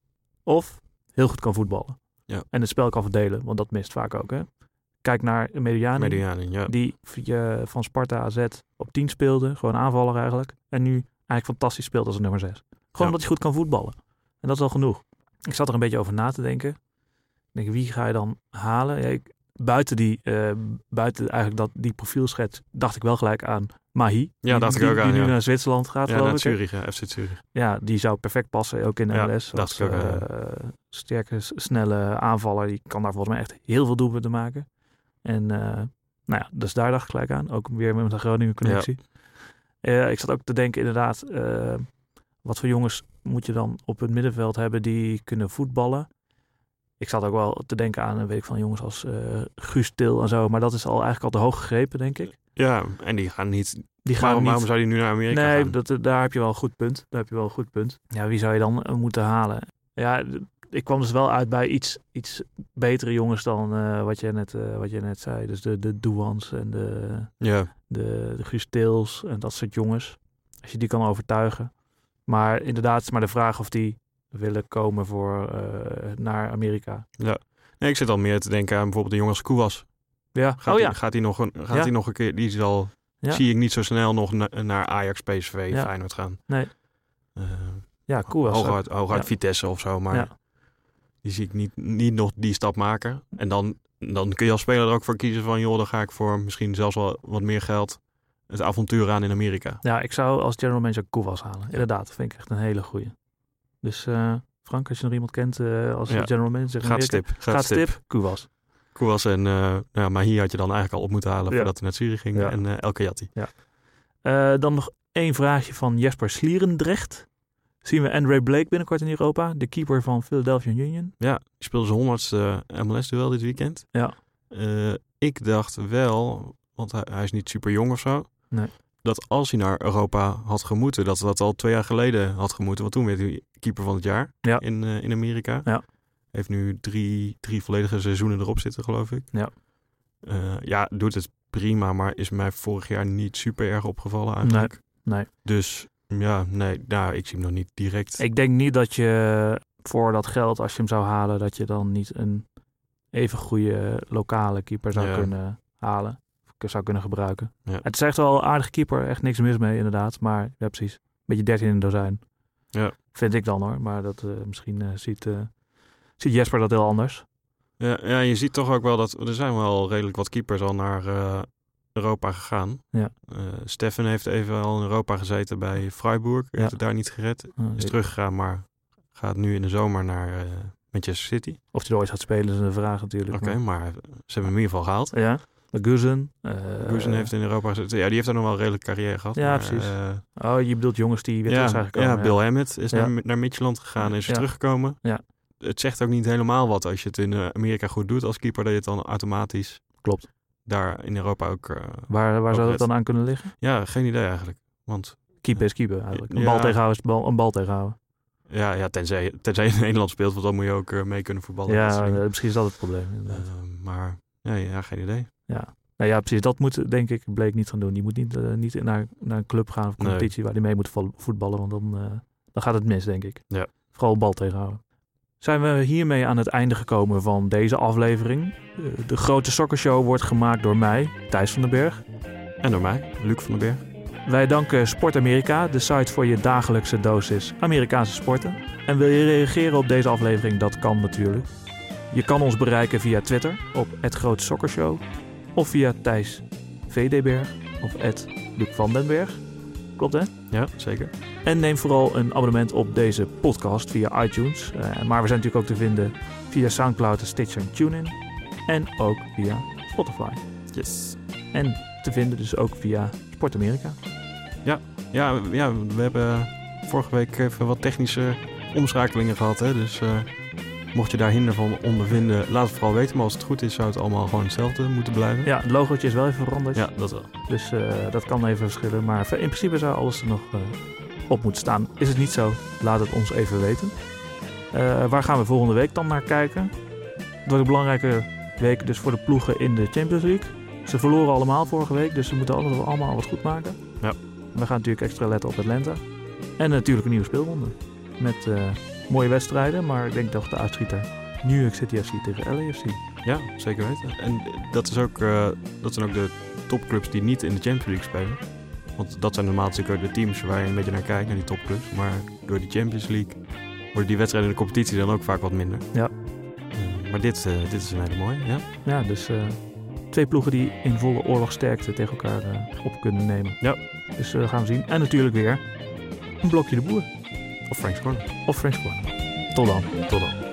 [SPEAKER 1] of heel goed kan voetballen.
[SPEAKER 7] Ja.
[SPEAKER 1] En het spel kan verdelen, want dat mist vaak ook. Hè? Kijk naar Mediani.
[SPEAKER 7] Medianen, ja.
[SPEAKER 1] die via- van Sparta AZ op 10 speelde. Gewoon aanvaller eigenlijk. En nu eigenlijk fantastisch speelt als een nummer 6. Gewoon
[SPEAKER 7] Ja.
[SPEAKER 1] omdat hij goed kan voetballen. En dat is al genoeg. Ik zat er een beetje over na te denken. Ik denk, wie ga je dan halen? Ja, ik- buiten die, eh, buiten eigenlijk dat, die profielschets dacht ik wel gelijk aan Mahi.
[SPEAKER 7] Ja,
[SPEAKER 1] die,
[SPEAKER 7] dacht ik
[SPEAKER 1] die-
[SPEAKER 7] ook aan,
[SPEAKER 1] Die nu
[SPEAKER 7] ja.
[SPEAKER 1] naar Zwitserland gaat,
[SPEAKER 7] ja,
[SPEAKER 1] geloof
[SPEAKER 7] naar
[SPEAKER 1] ik. hè?
[SPEAKER 7] Zurich, ja, FC Zurich.
[SPEAKER 1] Ja, die zou perfect passen, ook in de
[SPEAKER 7] Ja,
[SPEAKER 1] MLS. Als,
[SPEAKER 7] dacht ik ook, ja.
[SPEAKER 1] eh, sterke, s- snelle aanvaller. Die kan daar volgens mij echt heel veel doelpunten maken. En eh, nou ja, dus daar dacht ik gelijk aan. Ook weer met de Groningen connectie. Eh, ik zat ook te denken inderdaad, eh, wat voor jongens moet je dan op het middenveld hebben die kunnen voetballen? Ik zat ook wel te denken aan, eh, weet ik van jongens als eh Guus Til en zo. Maar dat is al eigenlijk al te hoog gegrepen, denk ik.
[SPEAKER 7] Ja, en die gaan niet.
[SPEAKER 1] Die gaan
[SPEAKER 7] waarom,
[SPEAKER 1] niet
[SPEAKER 7] waarom zou die nu naar Amerika
[SPEAKER 1] nee,
[SPEAKER 7] gaan?
[SPEAKER 1] dat, eh, daar heb je wel een goed punt. Daar heb je wel een goed punt. Ja, wie zou je dan eh, moeten halen? Ja, d- ik kwam dus wel uit bij iets, iets betere jongens dan eh, wat, jij net, eh, wat jij net zei. Dus de, de Douans en de,
[SPEAKER 7] Ja,
[SPEAKER 1] de, de Guus Teels en dat soort jongens. Als je die kan overtuigen. Maar inderdaad, het is maar de vraag of die willen komen voor, eh, naar Amerika.
[SPEAKER 7] nee, ik zit al meer te denken aan bijvoorbeeld de jongens Koewas.
[SPEAKER 1] Ja,
[SPEAKER 7] Gaat
[SPEAKER 1] oh
[SPEAKER 7] die-
[SPEAKER 1] ja.
[SPEAKER 7] Gaat hij nog, een- gaat
[SPEAKER 1] Ja.
[SPEAKER 7] die nog een keer. Die zal.
[SPEAKER 1] Ja.
[SPEAKER 7] Zie ik niet zo snel nog na- naar Ajax, PSV,
[SPEAKER 1] Ja.
[SPEAKER 7] Feyenoord gaan.
[SPEAKER 1] Nee.
[SPEAKER 7] Eh,
[SPEAKER 1] Ja, cool. was dat.
[SPEAKER 7] hooguit, hooguit
[SPEAKER 1] Ja.
[SPEAKER 7] Vitesse of zo, maar
[SPEAKER 1] Ja.
[SPEAKER 7] die zie ik niet, niet nog die stap maken. En dan, dan kun je als speler er ook voor kiezen van, joh, dan ga ik voor misschien zelfs wel wat meer geld het avontuur aan in Amerika.
[SPEAKER 1] Ja, ik zou als general manager Koewas halen. Inderdaad, dat vind ik echt een hele goeie. Dus eh, Frank, als je nog iemand kent eh, als
[SPEAKER 7] Ja.
[SPEAKER 1] general manager... in
[SPEAKER 7] Gaat
[SPEAKER 1] Amerika,
[SPEAKER 7] stip, gaat,
[SPEAKER 1] Gaat
[SPEAKER 7] stip.
[SPEAKER 1] stip, Koewas.
[SPEAKER 7] Koewas en, eh nou, maar hier had je dan eigenlijk al op moeten halen
[SPEAKER 1] Ja.
[SPEAKER 7] voordat hij naar Zurich ging.
[SPEAKER 1] Ja.
[SPEAKER 7] En eh El Kayati.
[SPEAKER 1] Eh, dan nog één vraagje van Jesper Slierendrecht. Zien we Andre Blake binnenkort in Europa? De keeper van Philadelphia Union.
[SPEAKER 7] Ja, die speelde zijn honderdste eh, MLS-duel dit weekend.
[SPEAKER 1] Ja.
[SPEAKER 7] Eh, ik dacht wel, want hij, hij is niet super jong of zo.
[SPEAKER 1] Nee.
[SPEAKER 7] Dat als hij naar Europa had gemoeten, dat dat al twee jaar geleden had gemoeten. Want toen werd hij keeper van het jaar
[SPEAKER 1] Ja.
[SPEAKER 7] in, eh, in Amerika.
[SPEAKER 1] Ja.
[SPEAKER 7] Heeft nu drie, drie volledige seizoenen erop zitten, geloof ik.
[SPEAKER 1] Ja.
[SPEAKER 7] Eh, ja, doet het prima, maar is mij vorig jaar niet super erg opgevallen eigenlijk.
[SPEAKER 1] nee.
[SPEAKER 7] Dus ja, nee, nou, ik zie hem nog niet direct.
[SPEAKER 1] Ik denk niet dat je voor dat geld, als je hem zou halen, dat je dan niet een even goede lokale keeper zou
[SPEAKER 7] Ja.
[SPEAKER 1] kunnen halen. Of k- zou kunnen gebruiken.
[SPEAKER 7] Ja.
[SPEAKER 1] Het is echt wel een aardige keeper. Echt niks mis mee, inderdaad. Maar ja, precies. Beetje 13 in een dozijn.
[SPEAKER 7] Ja.
[SPEAKER 1] Vind ik dan hoor. Maar dat eh, misschien eh, ziet, eh, ziet Jesper dat heel anders.
[SPEAKER 7] Ja, ja, je ziet toch ook wel dat er zijn wel redelijk wat keepers al naar eh, Europa gegaan.
[SPEAKER 1] Ja.
[SPEAKER 7] Eh, Steffen heeft even al in Europa gezeten bij Freiburg. Heeft
[SPEAKER 1] Ja.
[SPEAKER 7] het daar niet gered.
[SPEAKER 1] Eh,
[SPEAKER 7] Is teruggegaan, maar gaat nu in de zomer naar eh, Manchester City.
[SPEAKER 1] Of hij er ooit gaat spelen is een vraag natuurlijk.
[SPEAKER 7] Oké,
[SPEAKER 1] maar-
[SPEAKER 7] maar ze hebben hem in ieder geval gehaald.
[SPEAKER 1] Ja, Guzen. eh,
[SPEAKER 7] Guzen heeft in Europa gezeten. Ja, die heeft daar nog wel een redelijke carrière gehad.
[SPEAKER 1] Ja, precies.
[SPEAKER 7] eh,
[SPEAKER 1] Oh, je bedoelt jongens die weer terug
[SPEAKER 7] ja,
[SPEAKER 1] zijn gekomen.
[SPEAKER 7] ja, Bill Hammett is
[SPEAKER 1] Ja.
[SPEAKER 7] naar, naar Midtjylland gegaan en is weer
[SPEAKER 1] Ja.
[SPEAKER 7] teruggekomen.
[SPEAKER 1] Ja.
[SPEAKER 7] Het zegt ook niet helemaal wat als je het in eh, Amerika goed doet als keeper, dat je het dan automatisch
[SPEAKER 1] Klopt.
[SPEAKER 7] daar in Europa ook... eh,
[SPEAKER 1] Waar, waar zou
[SPEAKER 7] het.
[SPEAKER 1] dat dan aan kunnen liggen?
[SPEAKER 7] ja, geen idee eigenlijk. Want
[SPEAKER 1] Keeper is keeper eigenlijk. Een
[SPEAKER 7] Ja.
[SPEAKER 1] bal tegenhouden is bal, een bal tegenhouden.
[SPEAKER 7] ja, ja tenzij, tenzij je in Nederland speelt, want dan moet je ook eh, mee kunnen voetballen. en dat
[SPEAKER 1] ja,
[SPEAKER 7] soort dingen.
[SPEAKER 1] eh, misschien is dat het probleem. inderdaad.
[SPEAKER 7] Eh, maar ja, ja, geen idee.
[SPEAKER 1] Nou ja, precies. Dat moet denk ik Blake niet gaan doen. Die moet niet, eh, niet naar, naar een club gaan of
[SPEAKER 7] Nee.
[SPEAKER 1] competitie waar hij mee moet vo- voetballen. Want dan, eh, dan gaat het mis, denk ik.
[SPEAKER 7] Ja.
[SPEAKER 1] Vooral bal tegenhouden. Zijn we hiermee aan het einde gekomen van deze aflevering. Eh, De grote sokkershow wordt gemaakt door mij, Thijs van den Berg.
[SPEAKER 7] En door mij, Luc van den Berg.
[SPEAKER 1] Wij danken Sport Amerika, de site voor je dagelijkse dosis Amerikaanse sporten. En wil je reageren op deze aflevering? Dat kan natuurlijk. Je kan ons bereiken via Twitter op het Groot Sokkershow of via Thijs VDberg of het Luc van den Berg. Klopt hè?
[SPEAKER 7] Ja, zeker.
[SPEAKER 1] En neem vooral een abonnement op deze podcast via iTunes. Eh, maar we zijn natuurlijk ook te vinden via Soundcloud, Stitcher en TuneIn. En ook via Spotify.
[SPEAKER 7] Yes.
[SPEAKER 1] En te vinden dus ook via Sport Amerika.
[SPEAKER 7] Ja, we- ja, we hebben vorige week even wat technische omschakelingen gehad. Hè? Dus eh, mocht je daar hinder van ondervinden, laat het vooral weten. Maar als het goed is, zou het allemaal gewoon hetzelfde moeten blijven.
[SPEAKER 1] Ja, het logootje is wel even veranderd.
[SPEAKER 7] Ja, dat wel.
[SPEAKER 1] Dus eh, dat kan even verschillen. Maar in principe zou alles er nog eh, op moeten staan. Is het niet zo? Laat het ons even weten. Eh, waar gaan we volgende week dan naar kijken? Het wordt een belangrijke week dus voor de ploegen in de Champions League. Ze verloren allemaal vorige week, dus ze moeten alles- allemaal wat goed maken.
[SPEAKER 7] Ja.
[SPEAKER 1] We gaan natuurlijk extra letten op Atlanta. En natuurlijk een nieuwe speelronde. Met eh, mooie wedstrijden, maar ik denk toch de uitschieter New York City FC tegen LAFC.
[SPEAKER 7] Ja, zeker weten. En dat, is ook, eh, dat zijn ook de topclubs die niet in de Champions League spelen. Want dat zijn normaal natuurlijk ook de teams waar je een beetje naar kijkt, naar die topclubs. Maar door die Champions League worden die wedstrijden in de competitie dan ook vaak wat minder.
[SPEAKER 1] Ja.
[SPEAKER 7] Eh, maar dit, eh, dit is een hele mooie, ja.
[SPEAKER 1] Ja, dus eh, twee ploegen die in volle oorlogsterkte tegen elkaar eh, op kunnen nemen.
[SPEAKER 7] Ja.
[SPEAKER 1] Dus eh, gaan we zien. En natuurlijk weer een blokje de boer
[SPEAKER 7] Of Frank's Corner.
[SPEAKER 1] of French Corner. Tot dan. Tot dan.